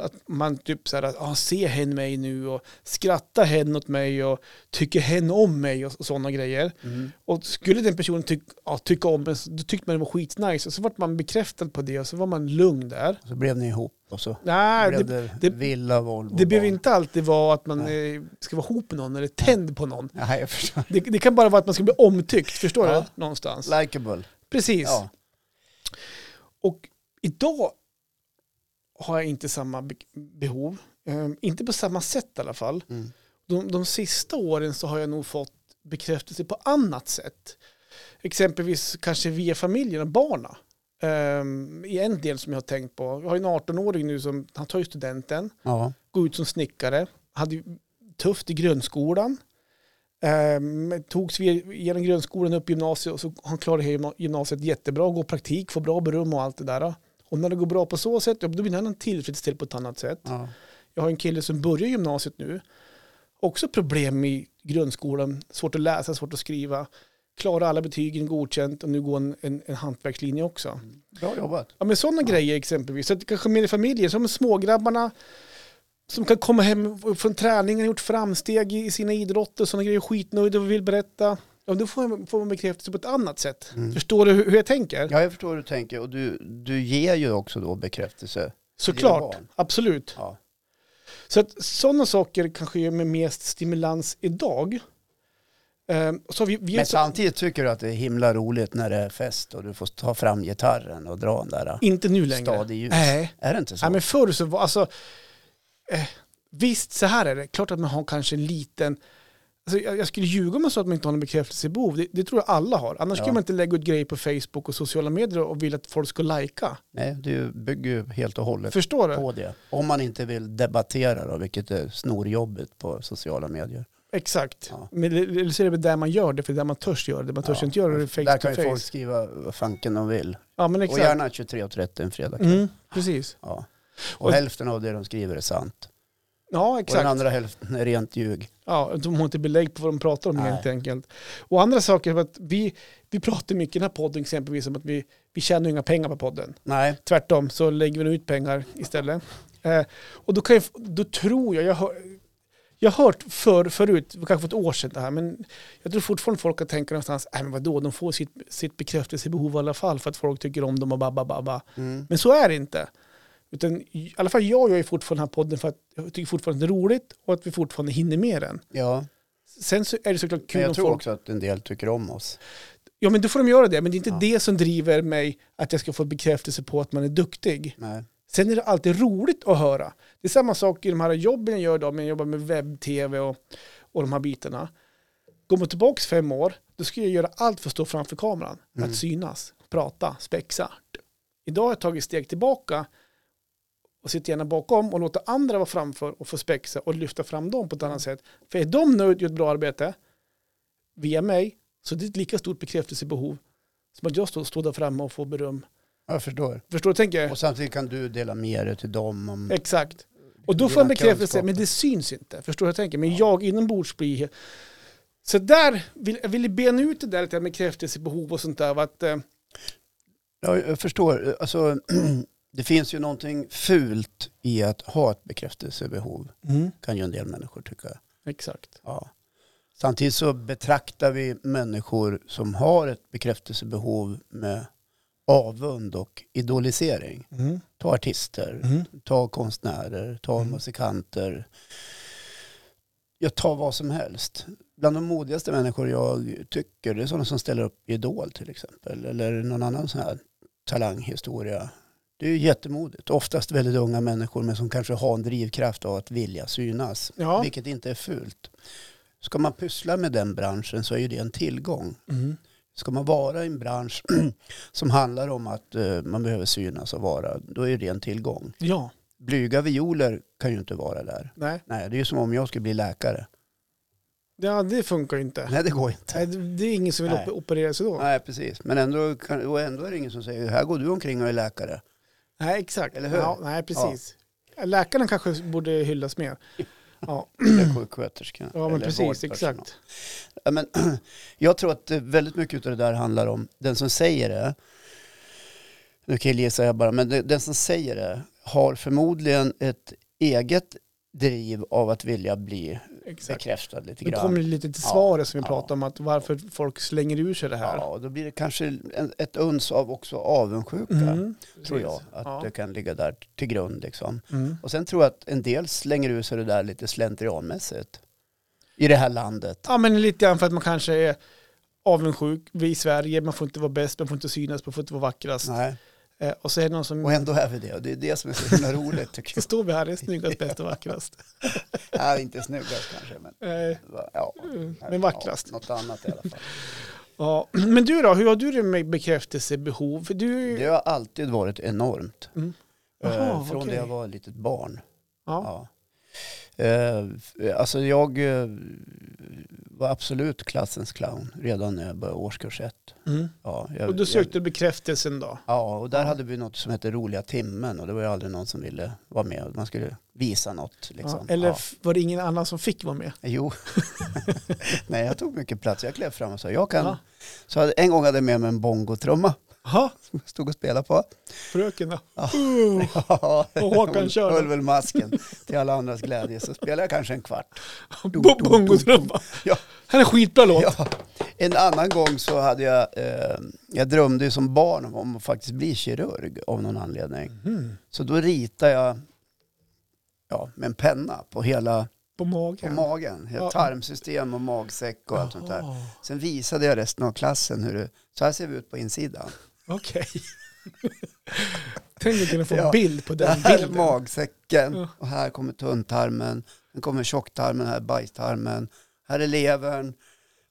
[SPEAKER 2] Att man typ så här, att, ah, se hen mig nu och skratta hen åt mig och tycker hen om mig och, och sådana grejer.
[SPEAKER 1] Mm.
[SPEAKER 2] Och skulle den personen tyck, ja, tycka om en, så- då tyckte man det var skitnice. Och så vart man bekräftad på det och så var man lugn där.
[SPEAKER 1] Så blev ni ihop och så
[SPEAKER 2] Nej,
[SPEAKER 1] blev
[SPEAKER 2] det,
[SPEAKER 1] det,
[SPEAKER 2] det-
[SPEAKER 1] villa, Volvo.
[SPEAKER 2] det behöver
[SPEAKER 1] barn.
[SPEAKER 2] inte alltid vara att man eh, ska vara ihop med någon eller tänd på någon.
[SPEAKER 1] Nej, jag förstår.
[SPEAKER 2] Det, det kan bara vara att man ska bli omtyckt, förstår
[SPEAKER 1] Ja.
[SPEAKER 2] du? Någonstans.
[SPEAKER 1] Likeable.
[SPEAKER 2] Precis.
[SPEAKER 1] Ja.
[SPEAKER 2] Och idag har jag inte samma be- behov. Ehm, inte på samma sätt i alla fall.
[SPEAKER 1] Mm.
[SPEAKER 2] De, de sista åren så har jag nog fått bekräftelse på annat sätt. Exempelvis kanske via familjen och barna. Ehm, I en del som jag har tänkt på. Jag har ju en 18-åring nu som han tar ju studenten
[SPEAKER 1] Ja.
[SPEAKER 2] gå ut som snickare. Hade ju tufft i grundskolan. Ehm, togs vi genom grundskolan upp i gymnasiet och så han klarade hela gymnasiet jättebra, går praktik, får bra beröm och allt det där. Och när det går bra på så sätt, ja, då blir han tillfredsställd på ett annat sätt.
[SPEAKER 1] Ja.
[SPEAKER 2] Jag har en kille som börjar gymnasiet nu. Också problem i grundskolan, svårt att läsa, svårt att skriva. Klarar alla betygen godkänt och nu går en, en, en hantverkslinje också.
[SPEAKER 1] Bra jobbat.
[SPEAKER 2] Ja men sådana grejer exempelvis. Så att kanske mer i familjer, som smågrabbarna som kan komma hem från träningen, gjort framsteg i i sina idrotter, sådana grejer, skitnöjda och vill berätta. Ja, då får man, får man bekräftelse på ett annat sätt. Förstår du hur, hur jag tänker?
[SPEAKER 1] Ja, jag förstår hur du tänker. Och du, du ger ju också då bekräftelse.
[SPEAKER 2] Såklart,
[SPEAKER 1] barn.
[SPEAKER 2] absolut.
[SPEAKER 1] Ja.
[SPEAKER 2] Så att sådana saker kanske ger mig mest stimulans idag. Ehm, så har vi, vi
[SPEAKER 1] Men samtidigt tycker du att det är himla roligt när det är fest och du får ta fram gitarren och dra den där
[SPEAKER 2] inte nu längre.
[SPEAKER 1] stadig ljus.
[SPEAKER 2] Nej.
[SPEAKER 1] Är det inte så?
[SPEAKER 2] Nej, men förr så var, alltså, eh, visst så här är det, klart att man har kanske en liten, alltså, jag, jag skulle ljuga om jag sa att man inte har någon bekräftelsebehov, det, det tror jag alla har, annars
[SPEAKER 1] Ja.
[SPEAKER 2] skulle man inte lägga ut grejer på Facebook och sociala medier och vilja att folk ska lajka.
[SPEAKER 1] Nej, du bygger ju helt och hållet
[SPEAKER 2] Förstår du?
[SPEAKER 1] på det. Om man inte vill debattera då, vilket är snorjobbigt på sociala medier.
[SPEAKER 2] Exakt.
[SPEAKER 1] Ja.
[SPEAKER 2] Men, eller så är det väl där man gör det, för det är där man törs göra det, man törs
[SPEAKER 1] Ja.
[SPEAKER 2] inte göra det face
[SPEAKER 1] Där
[SPEAKER 2] to
[SPEAKER 1] kan ju folk
[SPEAKER 2] face.
[SPEAKER 1] skriva vad fanken de vill.
[SPEAKER 2] Ja men
[SPEAKER 1] Och
[SPEAKER 2] exakt.
[SPEAKER 1] gärna 23.30 en fredag.
[SPEAKER 2] Mm, precis.
[SPEAKER 1] Ja.
[SPEAKER 2] Och-
[SPEAKER 1] Och hälften av det de skriver är sant.
[SPEAKER 2] Ja
[SPEAKER 1] Och den
[SPEAKER 2] exakt.
[SPEAKER 1] andra hälften är rent ljug.
[SPEAKER 2] Ja, de har inte belägg på vad de pratar om
[SPEAKER 1] Nej.
[SPEAKER 2] helt enkelt. Och andra saker, är att vi, vi pratar mycket i den här podden exempelvis om att vi, vi tjänar ju inga pengar på podden.
[SPEAKER 1] Nej,
[SPEAKER 2] Tvärtom så lägger vi nog ut pengar istället. Eh, och då, kan jag, då tror jag, jag har, jag har hört för, förut, kanske för ett år sedan det här, men jag tror fortfarande folk kan tänka någonstans, nej men vadå, de får sitt, sitt bekräftelsebehov i alla fall för att folk tycker om dem och ba, ba, ba, ba.
[SPEAKER 1] mm.
[SPEAKER 2] Men så är det inte. Utan i alla fall jag gör ju fortfarande den här podden för att jag tycker fortfarande det är roligt och att vi fortfarande hinner med den.
[SPEAKER 1] ja.
[SPEAKER 2] Sen så är det såklart
[SPEAKER 1] men
[SPEAKER 2] kul om
[SPEAKER 1] jag tror
[SPEAKER 2] folk
[SPEAKER 1] också att en del tycker om oss.
[SPEAKER 2] Ja men då får de göra det, men det är inte
[SPEAKER 1] Ja.
[SPEAKER 2] det som driver mig att jag ska få bekräftelse på att man är duktig.
[SPEAKER 1] Nej.
[SPEAKER 2] Sen är det alltid roligt att höra. Det är samma sak i de här jobben jag gör idag, men jag jobbar med webb-tv och, och de här bitarna. Går man tillbaka fem år, då ska jag göra allt för att stå framför kameran.
[SPEAKER 1] Mm.
[SPEAKER 2] Att synas, prata, spexa. Idag har jag tagit steg tillbaka och sitter gärna bakom och låter andra vara framför och få spexa och lyfta fram dem på ett annat sätt. För är de nöjda och gör ett bra arbete via mig, så det är ett lika stort bekräftelsebehov som att jag står, står där framme och får beröm.
[SPEAKER 1] Jag förstår.
[SPEAKER 2] Förstår du? Tänker jag?
[SPEAKER 1] Och samtidigt kan du dela med dig till dem om...
[SPEAKER 2] Eh. Exakt. Och då
[SPEAKER 1] Dina
[SPEAKER 2] får han bekräftelse,
[SPEAKER 1] kunskaper.
[SPEAKER 2] men det syns inte. Förstår du vad jag tänker? Men jag inombords blir... Så där, vill, jag ville bena ut det där lite med bekräftelsebehov och sånt där. va, Att, eh,
[SPEAKER 1] Ja, jag förstår. Alltså, det finns ju någonting fult i att ha ett bekräftelsebehov, kan ju en del människor tycka.
[SPEAKER 2] Exakt.
[SPEAKER 1] Ja. Samtidigt så betraktar vi människor som har ett bekräftelsebehov med avund och idolisering. Ta artister, ta konstnärer, ta
[SPEAKER 2] Mm.
[SPEAKER 1] musikanter. Jag tar vad som helst. Bland de modigaste människor jag tycker, det är sådana som ställer upp i Idol till exempel, eller någon annan sån här talanghistoria. Det är ju jättemodigt. Oftast väldigt unga människor, men som kanske har en drivkraft av att vilja synas,
[SPEAKER 2] Ja.
[SPEAKER 1] vilket inte är fult. Ska man pyssla med den branschen så är ju det en tillgång.
[SPEAKER 2] Mm.
[SPEAKER 1] Ska man vara i en bransch som handlar om att eh, man behöver synas och vara, då är det en tillgång
[SPEAKER 2] Ja.
[SPEAKER 1] blyga violer kan ju inte vara där.
[SPEAKER 2] Nej.
[SPEAKER 1] Nej, det är ju som om jag skulle bli läkare.
[SPEAKER 2] Ja, det funkar ju inte.
[SPEAKER 1] Nej, det går inte.
[SPEAKER 2] Nej, det- det är ingen som vill
[SPEAKER 1] Nej.
[SPEAKER 2] op- operera sig då. Nej,
[SPEAKER 1] Nej, precis. Men ändå, kan, och ändå är det ingen som säger, här går du omkring och är läkare.
[SPEAKER 2] exakt.
[SPEAKER 1] Eller hur?
[SPEAKER 2] Ja, nej, precis. Läkarna kanske borde hyllas mer. Ja,
[SPEAKER 1] Eller sjuksköterska.
[SPEAKER 2] ja men
[SPEAKER 1] eller
[SPEAKER 2] precis.
[SPEAKER 1] vårdpersonal.
[SPEAKER 2] Exakt.
[SPEAKER 1] Ja, Men, jag tror att eh, väldigt mycket av det där handlar om den som säger det. Nu killgissar jag bara, men det- den som säger det har förmodligen ett eget driv av att vilja bli
[SPEAKER 2] exakt.
[SPEAKER 1] bekräftad lite
[SPEAKER 2] Nu
[SPEAKER 1] grann.
[SPEAKER 2] kommer det lite till
[SPEAKER 1] Ja.
[SPEAKER 2] svaret som vi
[SPEAKER 1] Ja.
[SPEAKER 2] pratade om, att varför folk slänger ur sig det här.
[SPEAKER 1] Ja, och då blir det kanske en, ett uns av också avundsjuka.
[SPEAKER 2] Mm.
[SPEAKER 1] tror jag.
[SPEAKER 2] Precis.
[SPEAKER 1] Att
[SPEAKER 2] Ja.
[SPEAKER 1] det kan ligga där till grund. Liksom.
[SPEAKER 2] Mm.
[SPEAKER 1] Och sen tror jag att en del slänger ur sig det där lite slentrianmässigt. I det här landet.
[SPEAKER 2] Ja, men lite grann för att man kanske är avundsjuk. Vi i Sverige, man får inte vara bäst, man får inte synas, man får inte vara vackrast.
[SPEAKER 1] Nej.
[SPEAKER 2] Eh, och så är det någon som...
[SPEAKER 1] Och ändå är vi det. Och det är det som är så himla roligt tycker
[SPEAKER 2] Så
[SPEAKER 1] jag.
[SPEAKER 2] står vi här, är snyggast, bäst och vackrast.
[SPEAKER 1] Ja, inte snyggast kanske, men,
[SPEAKER 2] Eh,
[SPEAKER 1] ja,
[SPEAKER 2] men vackrast.
[SPEAKER 1] Ja, något annat i alla fall.
[SPEAKER 2] Ja. Men du då, hur har du det med bekräftelsebehov? För du...
[SPEAKER 1] Det har alltid varit enormt.
[SPEAKER 2] Mm.
[SPEAKER 1] Eh,
[SPEAKER 2] Jaha,
[SPEAKER 1] Från
[SPEAKER 2] okej.
[SPEAKER 1] det jag var ett litet barn.
[SPEAKER 2] Ja.
[SPEAKER 1] Ja. Eh, f- alltså jag eh, var absolut klassens clown redan när jag började årskurs ett.
[SPEAKER 2] Mm.
[SPEAKER 1] Ja, jag,
[SPEAKER 2] Och då
[SPEAKER 1] jag,
[SPEAKER 2] sökte du bekräftelsen då?
[SPEAKER 1] ja, och där
[SPEAKER 2] Ja.
[SPEAKER 1] hade vi något som hette roliga timmen och det var ju aldrig någon som ville vara med. Man skulle visa något liksom.
[SPEAKER 2] ja, eller
[SPEAKER 1] Ja.
[SPEAKER 2] f- var det ingen annan som fick vara med?
[SPEAKER 1] Jo. Nej, jag tog mycket plats. Jag klev fram och sa, jag kan.
[SPEAKER 2] Ja.
[SPEAKER 1] Så hade, en gång hade jag med mig en bongotrumma
[SPEAKER 2] Jaha,
[SPEAKER 1] som jag stod och spelade på.
[SPEAKER 2] fröken då?
[SPEAKER 1] Ja.
[SPEAKER 2] Uh,
[SPEAKER 1] Ja,
[SPEAKER 2] Och Håkan
[SPEAKER 1] höll-
[SPEAKER 2] körde.
[SPEAKER 1] Höll väl masken till alla andras glädje. Så spelade jag kanske en kvart.
[SPEAKER 2] bo- Bongotrumma.
[SPEAKER 1] Ja.
[SPEAKER 2] Här är en skitbra låt.
[SPEAKER 1] Ja. En annan gång så hade jag, eh, jag drömde ju som barn om att faktiskt bli kirurg av någon anledning.
[SPEAKER 2] Mm.
[SPEAKER 1] Så då ritade jag ja, med en penna på hela
[SPEAKER 2] På
[SPEAKER 1] på
[SPEAKER 2] magen.
[SPEAKER 1] magen. Hela
[SPEAKER 2] Ja.
[SPEAKER 1] tarmsystem och magsäck och allt sånt där.
[SPEAKER 2] Jaha,
[SPEAKER 1] Sen visade jag resten av klassen hur det, så här ser vi ut på insidan.
[SPEAKER 2] Okej. Tänk att kunna få en
[SPEAKER 1] Ja.
[SPEAKER 2] bild på
[SPEAKER 1] Det
[SPEAKER 2] den
[SPEAKER 1] här är
[SPEAKER 2] bilden.
[SPEAKER 1] magsäcken
[SPEAKER 2] Ja.
[SPEAKER 1] och här kommer tunntarmen, sen kommer tjocktarmen, här är bajstarmen, här är levern.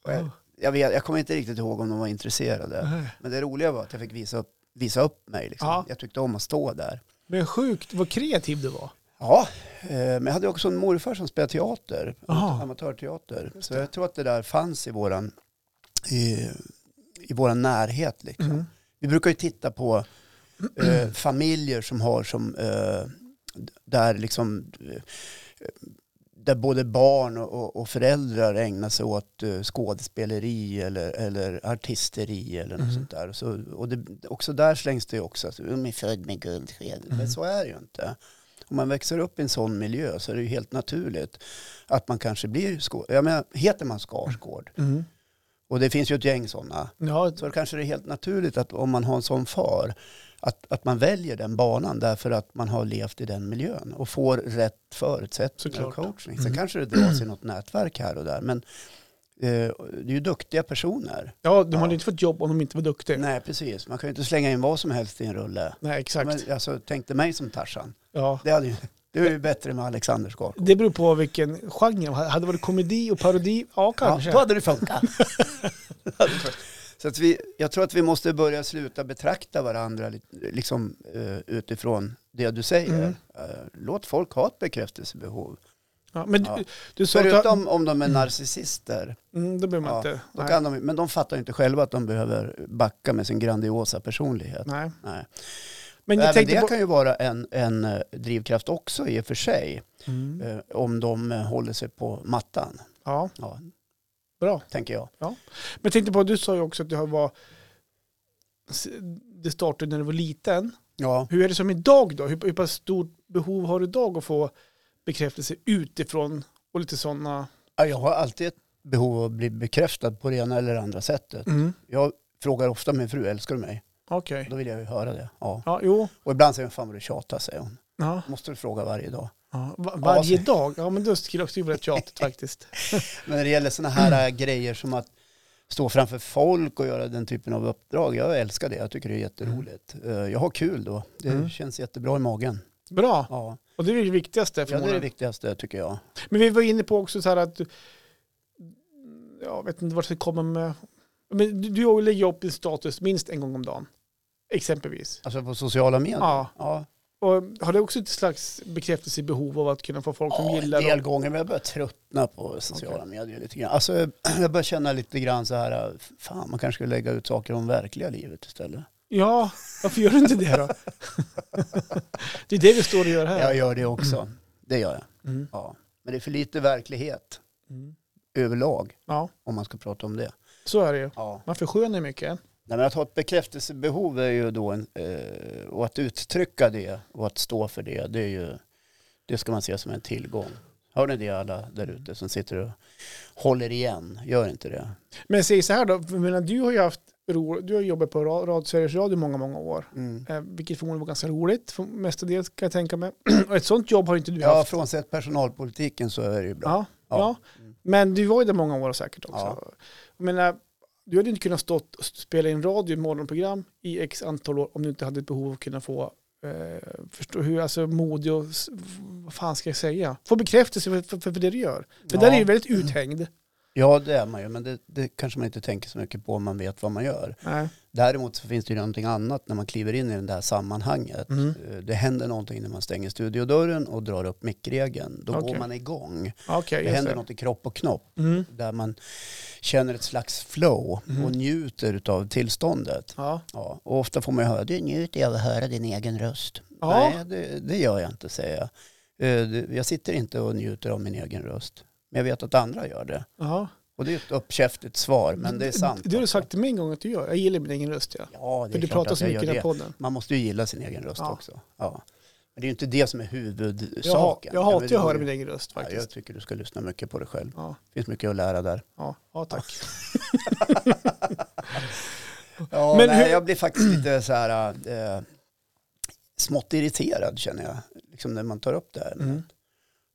[SPEAKER 1] Och jag,
[SPEAKER 2] Ja.
[SPEAKER 1] jag, vet, jag kommer inte riktigt ihåg om de var intresserade.
[SPEAKER 2] Nej.
[SPEAKER 1] Men det roliga var att jag fick visa upp, visa upp mig. Liksom.
[SPEAKER 2] Ja.
[SPEAKER 1] Jag tyckte om att stå där.
[SPEAKER 2] Men sjukt vad kreativ du var.
[SPEAKER 1] Ja, eh, men jag hade också en morfar som spelade teater,
[SPEAKER 2] Jaha.
[SPEAKER 1] amatörteater.
[SPEAKER 2] Just
[SPEAKER 1] Så
[SPEAKER 2] det.
[SPEAKER 1] jag tror att det där fanns i våran, i, i våran närhet. Liksom.
[SPEAKER 2] Mm.
[SPEAKER 1] Vi brukar ju titta på eh, familjer som har som, eh, d- där liksom, eh, där både barn och- och, och föräldrar ägnar sig åt eh, skådespeleri eller, eller artisteri eller något
[SPEAKER 2] Mhm.
[SPEAKER 1] sånt där. Så, och det, också där slängs det ju också att de är född med guldsked.
[SPEAKER 2] Mhm.
[SPEAKER 1] Men så är det ju inte. Om man växer upp i en sån miljö så är det ju helt naturligt att man kanske blir skådespelare. Jag menar, heter man Skarsgård?
[SPEAKER 2] Mm.
[SPEAKER 1] Och det finns ju ett gäng sådana
[SPEAKER 2] Ja,
[SPEAKER 1] så kanske det är helt naturligt att om man har en sån far, att, att man väljer den banan därför att man har levt i den miljön och får rätt förutsättningar och
[SPEAKER 2] Såklart.
[SPEAKER 1] coachning. Sen
[SPEAKER 2] Mm.
[SPEAKER 1] kanske det dras i något nätverk här och där, men eh, det är ju duktiga personer.
[SPEAKER 2] ja de hade
[SPEAKER 1] Ja.
[SPEAKER 2] inte fått jobb om de inte var duktiga. Nej,
[SPEAKER 1] Nej, precis. Man kan ju inte slänga in vad som helst i en rulle.
[SPEAKER 2] exakt.
[SPEAKER 1] Men, alltså, tänkte mig som Tarzan.
[SPEAKER 2] ja.
[SPEAKER 1] Det, hade ju, det är ju bättre med Alexander Skarsgård.
[SPEAKER 2] Det beror på vilken genre. Hade det varit komedi och parodi? Ja, kanske.
[SPEAKER 1] Ja, då hade det funkat. Så att vi, jag tror att vi måste börja sluta betrakta varandra li- liksom, eh, utifrån det du säger.
[SPEAKER 2] Mm.
[SPEAKER 1] Eh, låt folk ha ett bekräftelsebehov.
[SPEAKER 2] Ja, men
[SPEAKER 1] Ja.
[SPEAKER 2] Du, du sa att...
[SPEAKER 1] Förutom om de är narcissister.
[SPEAKER 2] Mm, då behöver man
[SPEAKER 1] Ja,
[SPEAKER 2] inte...
[SPEAKER 1] Då
[SPEAKER 2] nej.
[SPEAKER 1] kan de, men de fattar ju inte själva att de behöver backa med sin grandiosa personlighet.
[SPEAKER 2] Nej.
[SPEAKER 1] Nej.
[SPEAKER 2] Mm. Men jag
[SPEAKER 1] Även
[SPEAKER 2] tänkte
[SPEAKER 1] det
[SPEAKER 2] på...
[SPEAKER 1] kan ju vara en, en eh, drivkraft också i och för sig.
[SPEAKER 2] Mm.
[SPEAKER 1] eh, Om de eh, håller sig på mattan,
[SPEAKER 2] Ja,
[SPEAKER 1] ja,
[SPEAKER 2] bra.
[SPEAKER 1] tänker jag.
[SPEAKER 2] Men jag tänkte på, du sa ju också att du har var... Det startade när du var liten.
[SPEAKER 1] Ja.
[SPEAKER 2] Hur är det som idag då? Hur, hur pass stort behov har du idag att få bekräftelse utifrån och lite sådana...
[SPEAKER 1] Ja, Jag har alltid ett behov av att bli bekräftad på det ena eller andra sättet.
[SPEAKER 2] Mm.
[SPEAKER 1] Jag frågar ofta min fru, älskar du mig?
[SPEAKER 2] Okej.
[SPEAKER 1] Då vill jag ju höra det. Ja.
[SPEAKER 2] Ja, jo.
[SPEAKER 1] Och ibland säger hon, fan vad du tjatar, säger hon.
[SPEAKER 2] Ja.
[SPEAKER 1] Måste du fråga varje dag.
[SPEAKER 2] Ja. Va-
[SPEAKER 1] Ja,
[SPEAKER 2] Varje
[SPEAKER 1] så-
[SPEAKER 2] dag? Ja, men då skulle jag också bli rätt tjatigt faktiskt.
[SPEAKER 1] Men när det gäller sådana här
[SPEAKER 2] Mm.
[SPEAKER 1] äh, grejer som att stå framför folk och göra den typen av uppdrag, jag älskar det. Jag tycker det är jätteroligt. Eh, Jag har kul då. Det
[SPEAKER 2] Mm.
[SPEAKER 1] känns jättebra i magen.
[SPEAKER 2] Bra.
[SPEAKER 1] Ja.
[SPEAKER 2] Och det är det viktigaste
[SPEAKER 1] ja, det är det
[SPEAKER 2] förmodligen.
[SPEAKER 1] viktigaste tycker jag.
[SPEAKER 2] Men vi var inne på också så här att, jag vet inte vart jag kommer med, men du, du lägger upp din status minst en gång om dagen, exempelvis.
[SPEAKER 1] Alltså på sociala medier.
[SPEAKER 2] Ja.
[SPEAKER 1] Ja,
[SPEAKER 2] Och har du också ett slags bekräftelsebehov av att kunna få folk som
[SPEAKER 1] ja en
[SPEAKER 2] gillar
[SPEAKER 1] del
[SPEAKER 2] dem?
[SPEAKER 1] gånger, men jag börjar tröttna på sociala
[SPEAKER 2] Okej.
[SPEAKER 1] medier lite grann. Alltså, jag börjar känna lite grann så här, äh, fan man kanske skulle lägga ut saker om verkliga livet istället.
[SPEAKER 2] Ja, varför gör du inte det då? det är det vi står och gör här.
[SPEAKER 1] Jag gör det också. Det gör jag.
[SPEAKER 2] Mm.
[SPEAKER 1] Ja. Men det är för lite verklighet
[SPEAKER 2] Mm.
[SPEAKER 1] överlag
[SPEAKER 2] ja,
[SPEAKER 1] om man ska prata om det.
[SPEAKER 2] så är det ju.
[SPEAKER 1] Ja.
[SPEAKER 2] Man förskönar ju mycket.
[SPEAKER 1] Nej, men att ha ett bekräftelsebehov är ju då en, eh, och att uttrycka det och att stå för det, det, är ju, det ska man se som en tillgång. Hör ni det alla där ute som sitter och håller igen? Gör inte det.
[SPEAKER 2] Men säg så här då, för jag menar, du har ju haft ro, du har jobbat på Ra- Ra- Sveriges Radio i många, många år. Eh, vilket förmodligen var ganska roligt, för mestadels kan jag tänka mig. Och ett sånt jobb har inte du
[SPEAKER 1] Ja,
[SPEAKER 2] haft.
[SPEAKER 1] frånsett personalpolitiken så är det ju bra.
[SPEAKER 2] Ja, ja.
[SPEAKER 1] Ja.
[SPEAKER 2] Men du var ju där många år säkert också.
[SPEAKER 1] Ja.
[SPEAKER 2] Jag menar, du hade inte kunnat stått och spela in radio i morgonprogram i x antal år om du inte hade ett behov av att kunna få eh, förstå hur, alltså modig och s- vad fan ska jag säga? Få bekräftelse för, för, för det du gör. För
[SPEAKER 1] Ja.
[SPEAKER 2] där är ju väldigt uthängd.
[SPEAKER 1] Ja, det är man ju, men det, det kanske man inte tänker så mycket på om man vet vad man gör.
[SPEAKER 2] Nej.
[SPEAKER 1] Däremot så finns det ju någonting annat när man kliver in i det där sammanhanget.
[SPEAKER 2] Mm.
[SPEAKER 1] Eh, Det händer någonting när man stänger studiodörren och drar upp mickregeln. Då
[SPEAKER 2] Okej.
[SPEAKER 1] går man igång.
[SPEAKER 2] Okej,
[SPEAKER 1] Det
[SPEAKER 2] just
[SPEAKER 1] händer
[SPEAKER 2] det.
[SPEAKER 1] något i kropp och knopp
[SPEAKER 2] Mm.
[SPEAKER 1] där man känner ett slags flow och
[SPEAKER 2] Mm.
[SPEAKER 1] njuter av tillståndet.
[SPEAKER 2] Ja.
[SPEAKER 1] Ja, och ofta får man ju höra, du njuter av att höra din egen röst.
[SPEAKER 2] Ja.
[SPEAKER 1] Nej, det, det gör jag inte, säger jag. Eh, det- Jag sitter inte och njuter av min egen röst. Men jag vet att andra gör det.
[SPEAKER 2] ja.
[SPEAKER 1] Och det är ett uppkäftigt svar, men det är sant.
[SPEAKER 2] Det, har du
[SPEAKER 1] också.
[SPEAKER 2] sagt till mig en gång att du gör. Jag gillar min egen röst, ja.
[SPEAKER 1] Ja, det
[SPEAKER 2] För
[SPEAKER 1] är
[SPEAKER 2] du
[SPEAKER 1] klart
[SPEAKER 2] pratar
[SPEAKER 1] att
[SPEAKER 2] så
[SPEAKER 1] jag
[SPEAKER 2] mycket i
[SPEAKER 1] gör
[SPEAKER 2] den
[SPEAKER 1] det.
[SPEAKER 2] podden.
[SPEAKER 1] Man måste ju gilla sin egen röst
[SPEAKER 2] Ja.
[SPEAKER 1] också. Ja. Men det är ju inte det som är huvudsaken.
[SPEAKER 2] Jag, ha, jag hatar
[SPEAKER 1] Men
[SPEAKER 2] ju
[SPEAKER 1] det
[SPEAKER 2] att höra
[SPEAKER 1] går
[SPEAKER 2] min egen röst
[SPEAKER 1] Ja, jag
[SPEAKER 2] faktiskt.
[SPEAKER 1] tycker du ska lyssna mycket på dig själv.
[SPEAKER 2] Ja,
[SPEAKER 1] Det finns mycket att lära där.
[SPEAKER 2] ja, ja tack.
[SPEAKER 1] Ja,
[SPEAKER 2] Men
[SPEAKER 1] nej,
[SPEAKER 2] hur-
[SPEAKER 1] Jag blir faktiskt lite så här eh, smått irriterad känner jag, liksom när man tar upp det här.
[SPEAKER 2] Mm.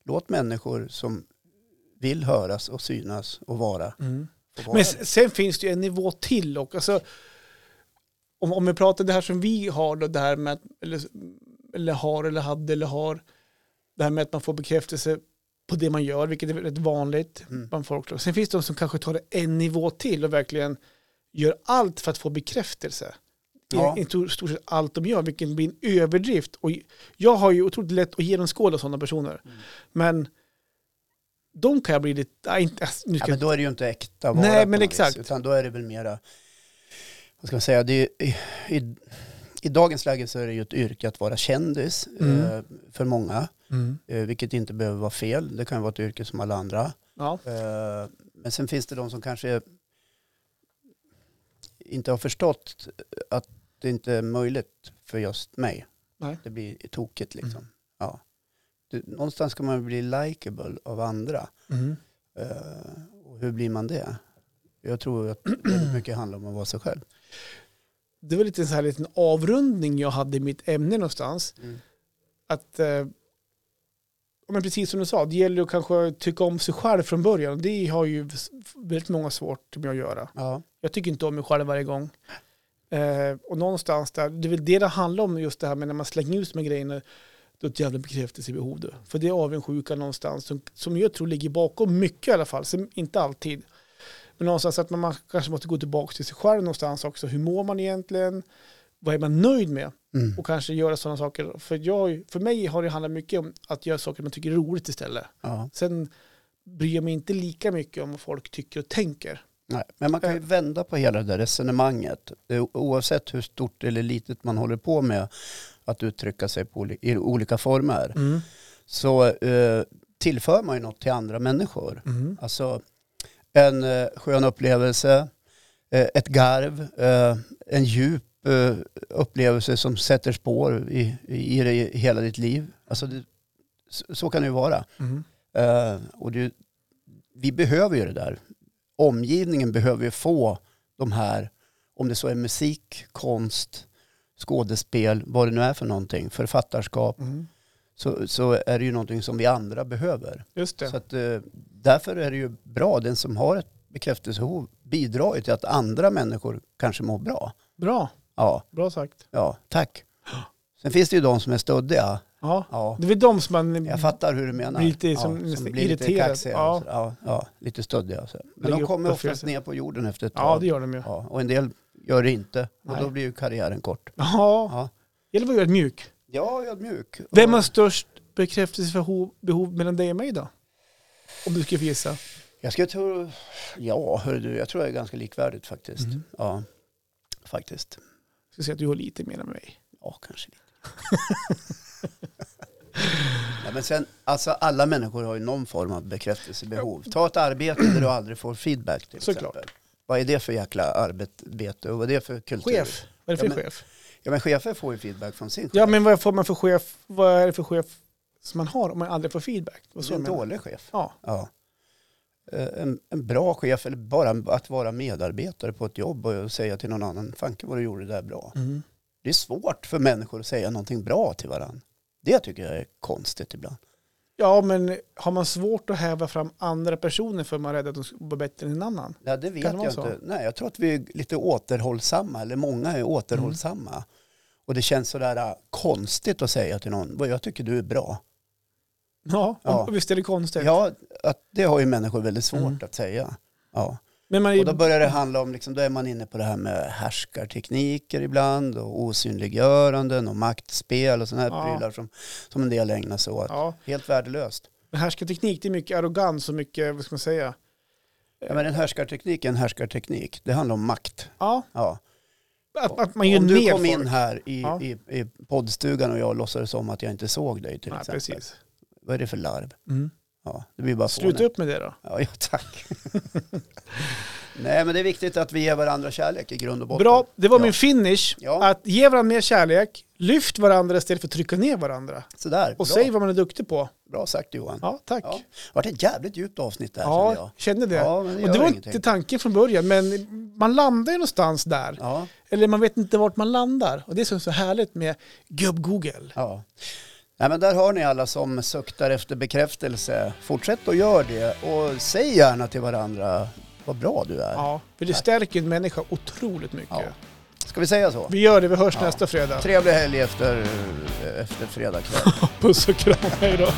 [SPEAKER 1] Låt människor som vill höras och synas och vara.
[SPEAKER 2] Mm.
[SPEAKER 1] få vara
[SPEAKER 2] Men
[SPEAKER 1] det.
[SPEAKER 2] s- sen finns det ju en nivå till och alltså, om, om vi pratar det här som vi har då, det här med att, eller, eller har eller hade eller har, det här med att man får bekräftelse på det man gör, vilket är rätt vanligt
[SPEAKER 1] Mm.
[SPEAKER 2] bland folk. Sen finns det de som kanske tar det en nivå till och verkligen gör allt för att få bekräftelse.
[SPEAKER 1] Ja.
[SPEAKER 2] I, i stor- stort sett allt de gör, vilket blir en överdrift. Och jag har ju otroligt lätt att genomskåda sådana personer.
[SPEAKER 1] Mm.
[SPEAKER 2] Men de kan jag bli lite, nej, inte, alltså, nu
[SPEAKER 1] Ja,
[SPEAKER 2] ska
[SPEAKER 1] men då är det ju inte äkta vara
[SPEAKER 2] Nej,
[SPEAKER 1] på
[SPEAKER 2] men
[SPEAKER 1] något
[SPEAKER 2] exakt.
[SPEAKER 1] Vis, utan då är det väl mera, vad ska man säga, det är, ju- i, i, i dagens läge så är det ju ett yrke att vara kändis
[SPEAKER 2] Mm.
[SPEAKER 1] eh, för många,
[SPEAKER 2] Mm.
[SPEAKER 1] eh, vilket inte behöver vara fel. Det kan ju vara ett yrke som alla andra.
[SPEAKER 2] Ja.
[SPEAKER 1] Eh, Men sen finns det de som kanske inte har förstått att det inte är möjligt för just mig.
[SPEAKER 2] Nej.
[SPEAKER 1] Det blir tokigt liksom. Ja. Du, någonstans ska man bli likable av andra.
[SPEAKER 2] Mm.
[SPEAKER 1] Eh, och hur blir man det? Jag tror att väldigt mycket handlar om att vara sig själv.
[SPEAKER 2] Det var lite en sån här liten avrundning jag hade i mitt ämne någonstans. Att, eh, ja, men precis som du sa, det gäller att kanske tycka om sig själv från början. Det har ju s- väldigt många svårt med att göra.
[SPEAKER 1] Ja.
[SPEAKER 2] Jag tycker inte om mig själv varje gång. Eh, och någonstans där, det är väl det det handlar om just det här med när man slänger ut med grejerna. Då är ett jävla bekräftelsebehov. då. För det är avundsjuka någonstans som, som jag tror ligger bakom mycket i alla fall. Som, inte alltid. Men någonstans att man, man kanske måste gå tillbaka till sig själv någonstans också. Hur mår man egentligen? Vad är man nöjd med?
[SPEAKER 1] Mm.
[SPEAKER 2] Och kanske göra sådana saker. För, jag, för mig har det handlat mycket om att göra saker man tycker är roligt istället.
[SPEAKER 1] Ja.
[SPEAKER 2] Sen bryr jag mig inte lika mycket om vad folk tycker och tänker.
[SPEAKER 1] Nej. Men man kan ju vända på hela det där resonemanget. Eh, Oavsett hur stort eller litet man håller på med att uttrycka sig på, oli- i olika former. så eh, tillför man ju något till andra människor. Alltså en eh, skön upplevelse, eh, ett garv, eh, en djup eh, upplevelse som sätter spår i, i, i, det, i hela ditt liv. Alltså det, så, så kan det ju vara. Eh, och det, vi behöver ju det där. Omgivningen behöver ju få de här, om det så är musik, konst, skådespel, vad det nu är för någonting, författarskap, så, så är det ju någonting som vi andra behöver.
[SPEAKER 2] Just det.
[SPEAKER 1] Så att, eh, därför är det ju bra, den som har ett bekräftelsebehov bidrar ju till att andra människor kanske mår bra.
[SPEAKER 2] Bra.
[SPEAKER 1] Ja,
[SPEAKER 2] Bra sagt.
[SPEAKER 1] ja, tack. Sen finns det ju de som är stöddiga.
[SPEAKER 2] Ja.
[SPEAKER 1] Ja,
[SPEAKER 2] Det är väl de som man...
[SPEAKER 1] jag fattar hur du menar.
[SPEAKER 2] Mm. Blir lite som-
[SPEAKER 1] ja,
[SPEAKER 2] nästan
[SPEAKER 1] som blir lite
[SPEAKER 2] irriterad.
[SPEAKER 1] kaxiga.
[SPEAKER 2] Ja.
[SPEAKER 1] Ja. Ja, ja, lite stöddiga. och Så. Men
[SPEAKER 2] Lägger
[SPEAKER 1] de
[SPEAKER 2] upp
[SPEAKER 1] kommer oftast
[SPEAKER 2] upplevelser.
[SPEAKER 1] ner på jorden efter ett tag.
[SPEAKER 2] Ja, det gör de ju.
[SPEAKER 1] ja, och en del gör det inte. Och
[SPEAKER 2] Nej.
[SPEAKER 1] då blir ju karriären kort.
[SPEAKER 2] Ja.
[SPEAKER 1] Ja,
[SPEAKER 2] Eller vad gör ett mjuk?
[SPEAKER 1] ja ödmjuk.
[SPEAKER 2] Vem har störst bekräftelsebehov behov mellan dig och mig då? Om du skulle få gissa.
[SPEAKER 1] Jag skulle tro, ja hör du, jag tror det är ganska likvärdigt faktiskt.
[SPEAKER 2] Mm.
[SPEAKER 1] Ja, faktiskt.
[SPEAKER 2] Jag skulle säga att du har lite mer än mig.
[SPEAKER 1] Ja, kanske lite. Nej, men sen, alltså alla människor har ju någon form av bekräftelsebehov. Ta ett arbete där du aldrig får feedback till
[SPEAKER 2] Såklart.
[SPEAKER 1] exempel. Vad är det för jäkla arbete och vad är det för kultur?
[SPEAKER 2] Chef. Vad är det för
[SPEAKER 1] Ja, men-
[SPEAKER 2] chef?
[SPEAKER 1] Ja, men chefer får ju feedback från sin chef.
[SPEAKER 2] Ja, men vad får man för chef? Vad är det för chef som man har om man aldrig får feedback? Vad
[SPEAKER 1] det
[SPEAKER 2] så
[SPEAKER 1] är en
[SPEAKER 2] menar.
[SPEAKER 1] dålig chef.
[SPEAKER 2] Ja.
[SPEAKER 1] Ja. Eh, En, en bra chef, eller bara att vara medarbetare på ett jobb och säga till någon annan, fanken vad du gjorde det där bra.
[SPEAKER 2] Mm.
[SPEAKER 1] Det är svårt för människor att säga någonting bra till varandra. Det tycker jag är konstigt ibland.
[SPEAKER 2] Ja, men har man svårt att häva fram andra personer för man är rädd att de ska vara bättre än en annan?
[SPEAKER 1] Ja, det vet
[SPEAKER 2] Kan det
[SPEAKER 1] jag
[SPEAKER 2] vara
[SPEAKER 1] inte.
[SPEAKER 2] så?
[SPEAKER 1] Nej, jag tror att vi är lite återhållsamma, eller många är återhållsamma. Och det känns sådär äh, konstigt att säga till någon, vad jag tycker du är bra.
[SPEAKER 2] Ja,
[SPEAKER 1] Ja.
[SPEAKER 2] och visst är det konstigt?
[SPEAKER 1] Ja, att det har ju människor väldigt svårt
[SPEAKER 2] Mm.
[SPEAKER 1] att säga. Ja.
[SPEAKER 2] Men man är
[SPEAKER 1] Och då börjar det handla om, liksom, då är man inne på det här med härskartekniker ibland och osynliggöranden och maktspel och sådana här
[SPEAKER 2] Ja.
[SPEAKER 1] prylar som, som en del ägnar sig åt.
[SPEAKER 2] ja,
[SPEAKER 1] Helt värdelöst.
[SPEAKER 2] men härskarteknik det är mycket arrogans och mycket, vad ska man säga?
[SPEAKER 1] Ja, men en härskarteknik är en härskarteknik. Det handlar om makt.
[SPEAKER 2] Ja,
[SPEAKER 1] Ja.
[SPEAKER 2] att, att man gör
[SPEAKER 1] Om du
[SPEAKER 2] ner
[SPEAKER 1] kom
[SPEAKER 2] folk.
[SPEAKER 1] in här i,
[SPEAKER 2] Ja.
[SPEAKER 1] i, i poddstugan och jag låtsades som att jag inte såg dig till
[SPEAKER 2] Nej,
[SPEAKER 1] exempel.
[SPEAKER 2] precis.
[SPEAKER 1] Vad är det för larv?
[SPEAKER 2] Mm.
[SPEAKER 1] Ja, det blir bara
[SPEAKER 2] Sluta upp med det då.
[SPEAKER 1] Ja, ja, tack. Nej, men det är viktigt att vi ger varandra kärlek i grund och botten.
[SPEAKER 2] Bra, det var
[SPEAKER 1] Ja.
[SPEAKER 2] min finish.
[SPEAKER 1] Ja,
[SPEAKER 2] Att ge varandra mer kärlek, lyft varandra istället för att trycka ner varandra.
[SPEAKER 1] sådär.
[SPEAKER 2] Och
[SPEAKER 1] bra,
[SPEAKER 2] säg vad man är duktig på.
[SPEAKER 1] bra sagt Johan.
[SPEAKER 2] Ja, tack.
[SPEAKER 1] Ja. Det vart ett jävligt djupt avsnitt där
[SPEAKER 2] Ja,
[SPEAKER 1] kände jag.
[SPEAKER 2] kände det.
[SPEAKER 1] Ja, men det
[SPEAKER 2] och
[SPEAKER 1] gör
[SPEAKER 2] det var
[SPEAKER 1] ingenting.
[SPEAKER 2] inte tanken från början, men man landar ju någonstans där.
[SPEAKER 1] Ja,
[SPEAKER 2] Eller man vet inte vart man landar. Och det är som är så härligt med gubb-Google.
[SPEAKER 1] ja. Nej, men där hör ni alla som suktar efter bekräftelse. Fortsätt att göra det och säg gärna till varandra vad bra du är.
[SPEAKER 2] Ja, för det stärker en människa otroligt mycket.
[SPEAKER 1] Ja. Ska vi säga så?
[SPEAKER 2] Vi gör det, vi hörs
[SPEAKER 1] Ja.
[SPEAKER 2] nästa fredag.
[SPEAKER 1] Trevlig helg efter, efter eh, fredag kväll.
[SPEAKER 2] Puss och kram, hej då.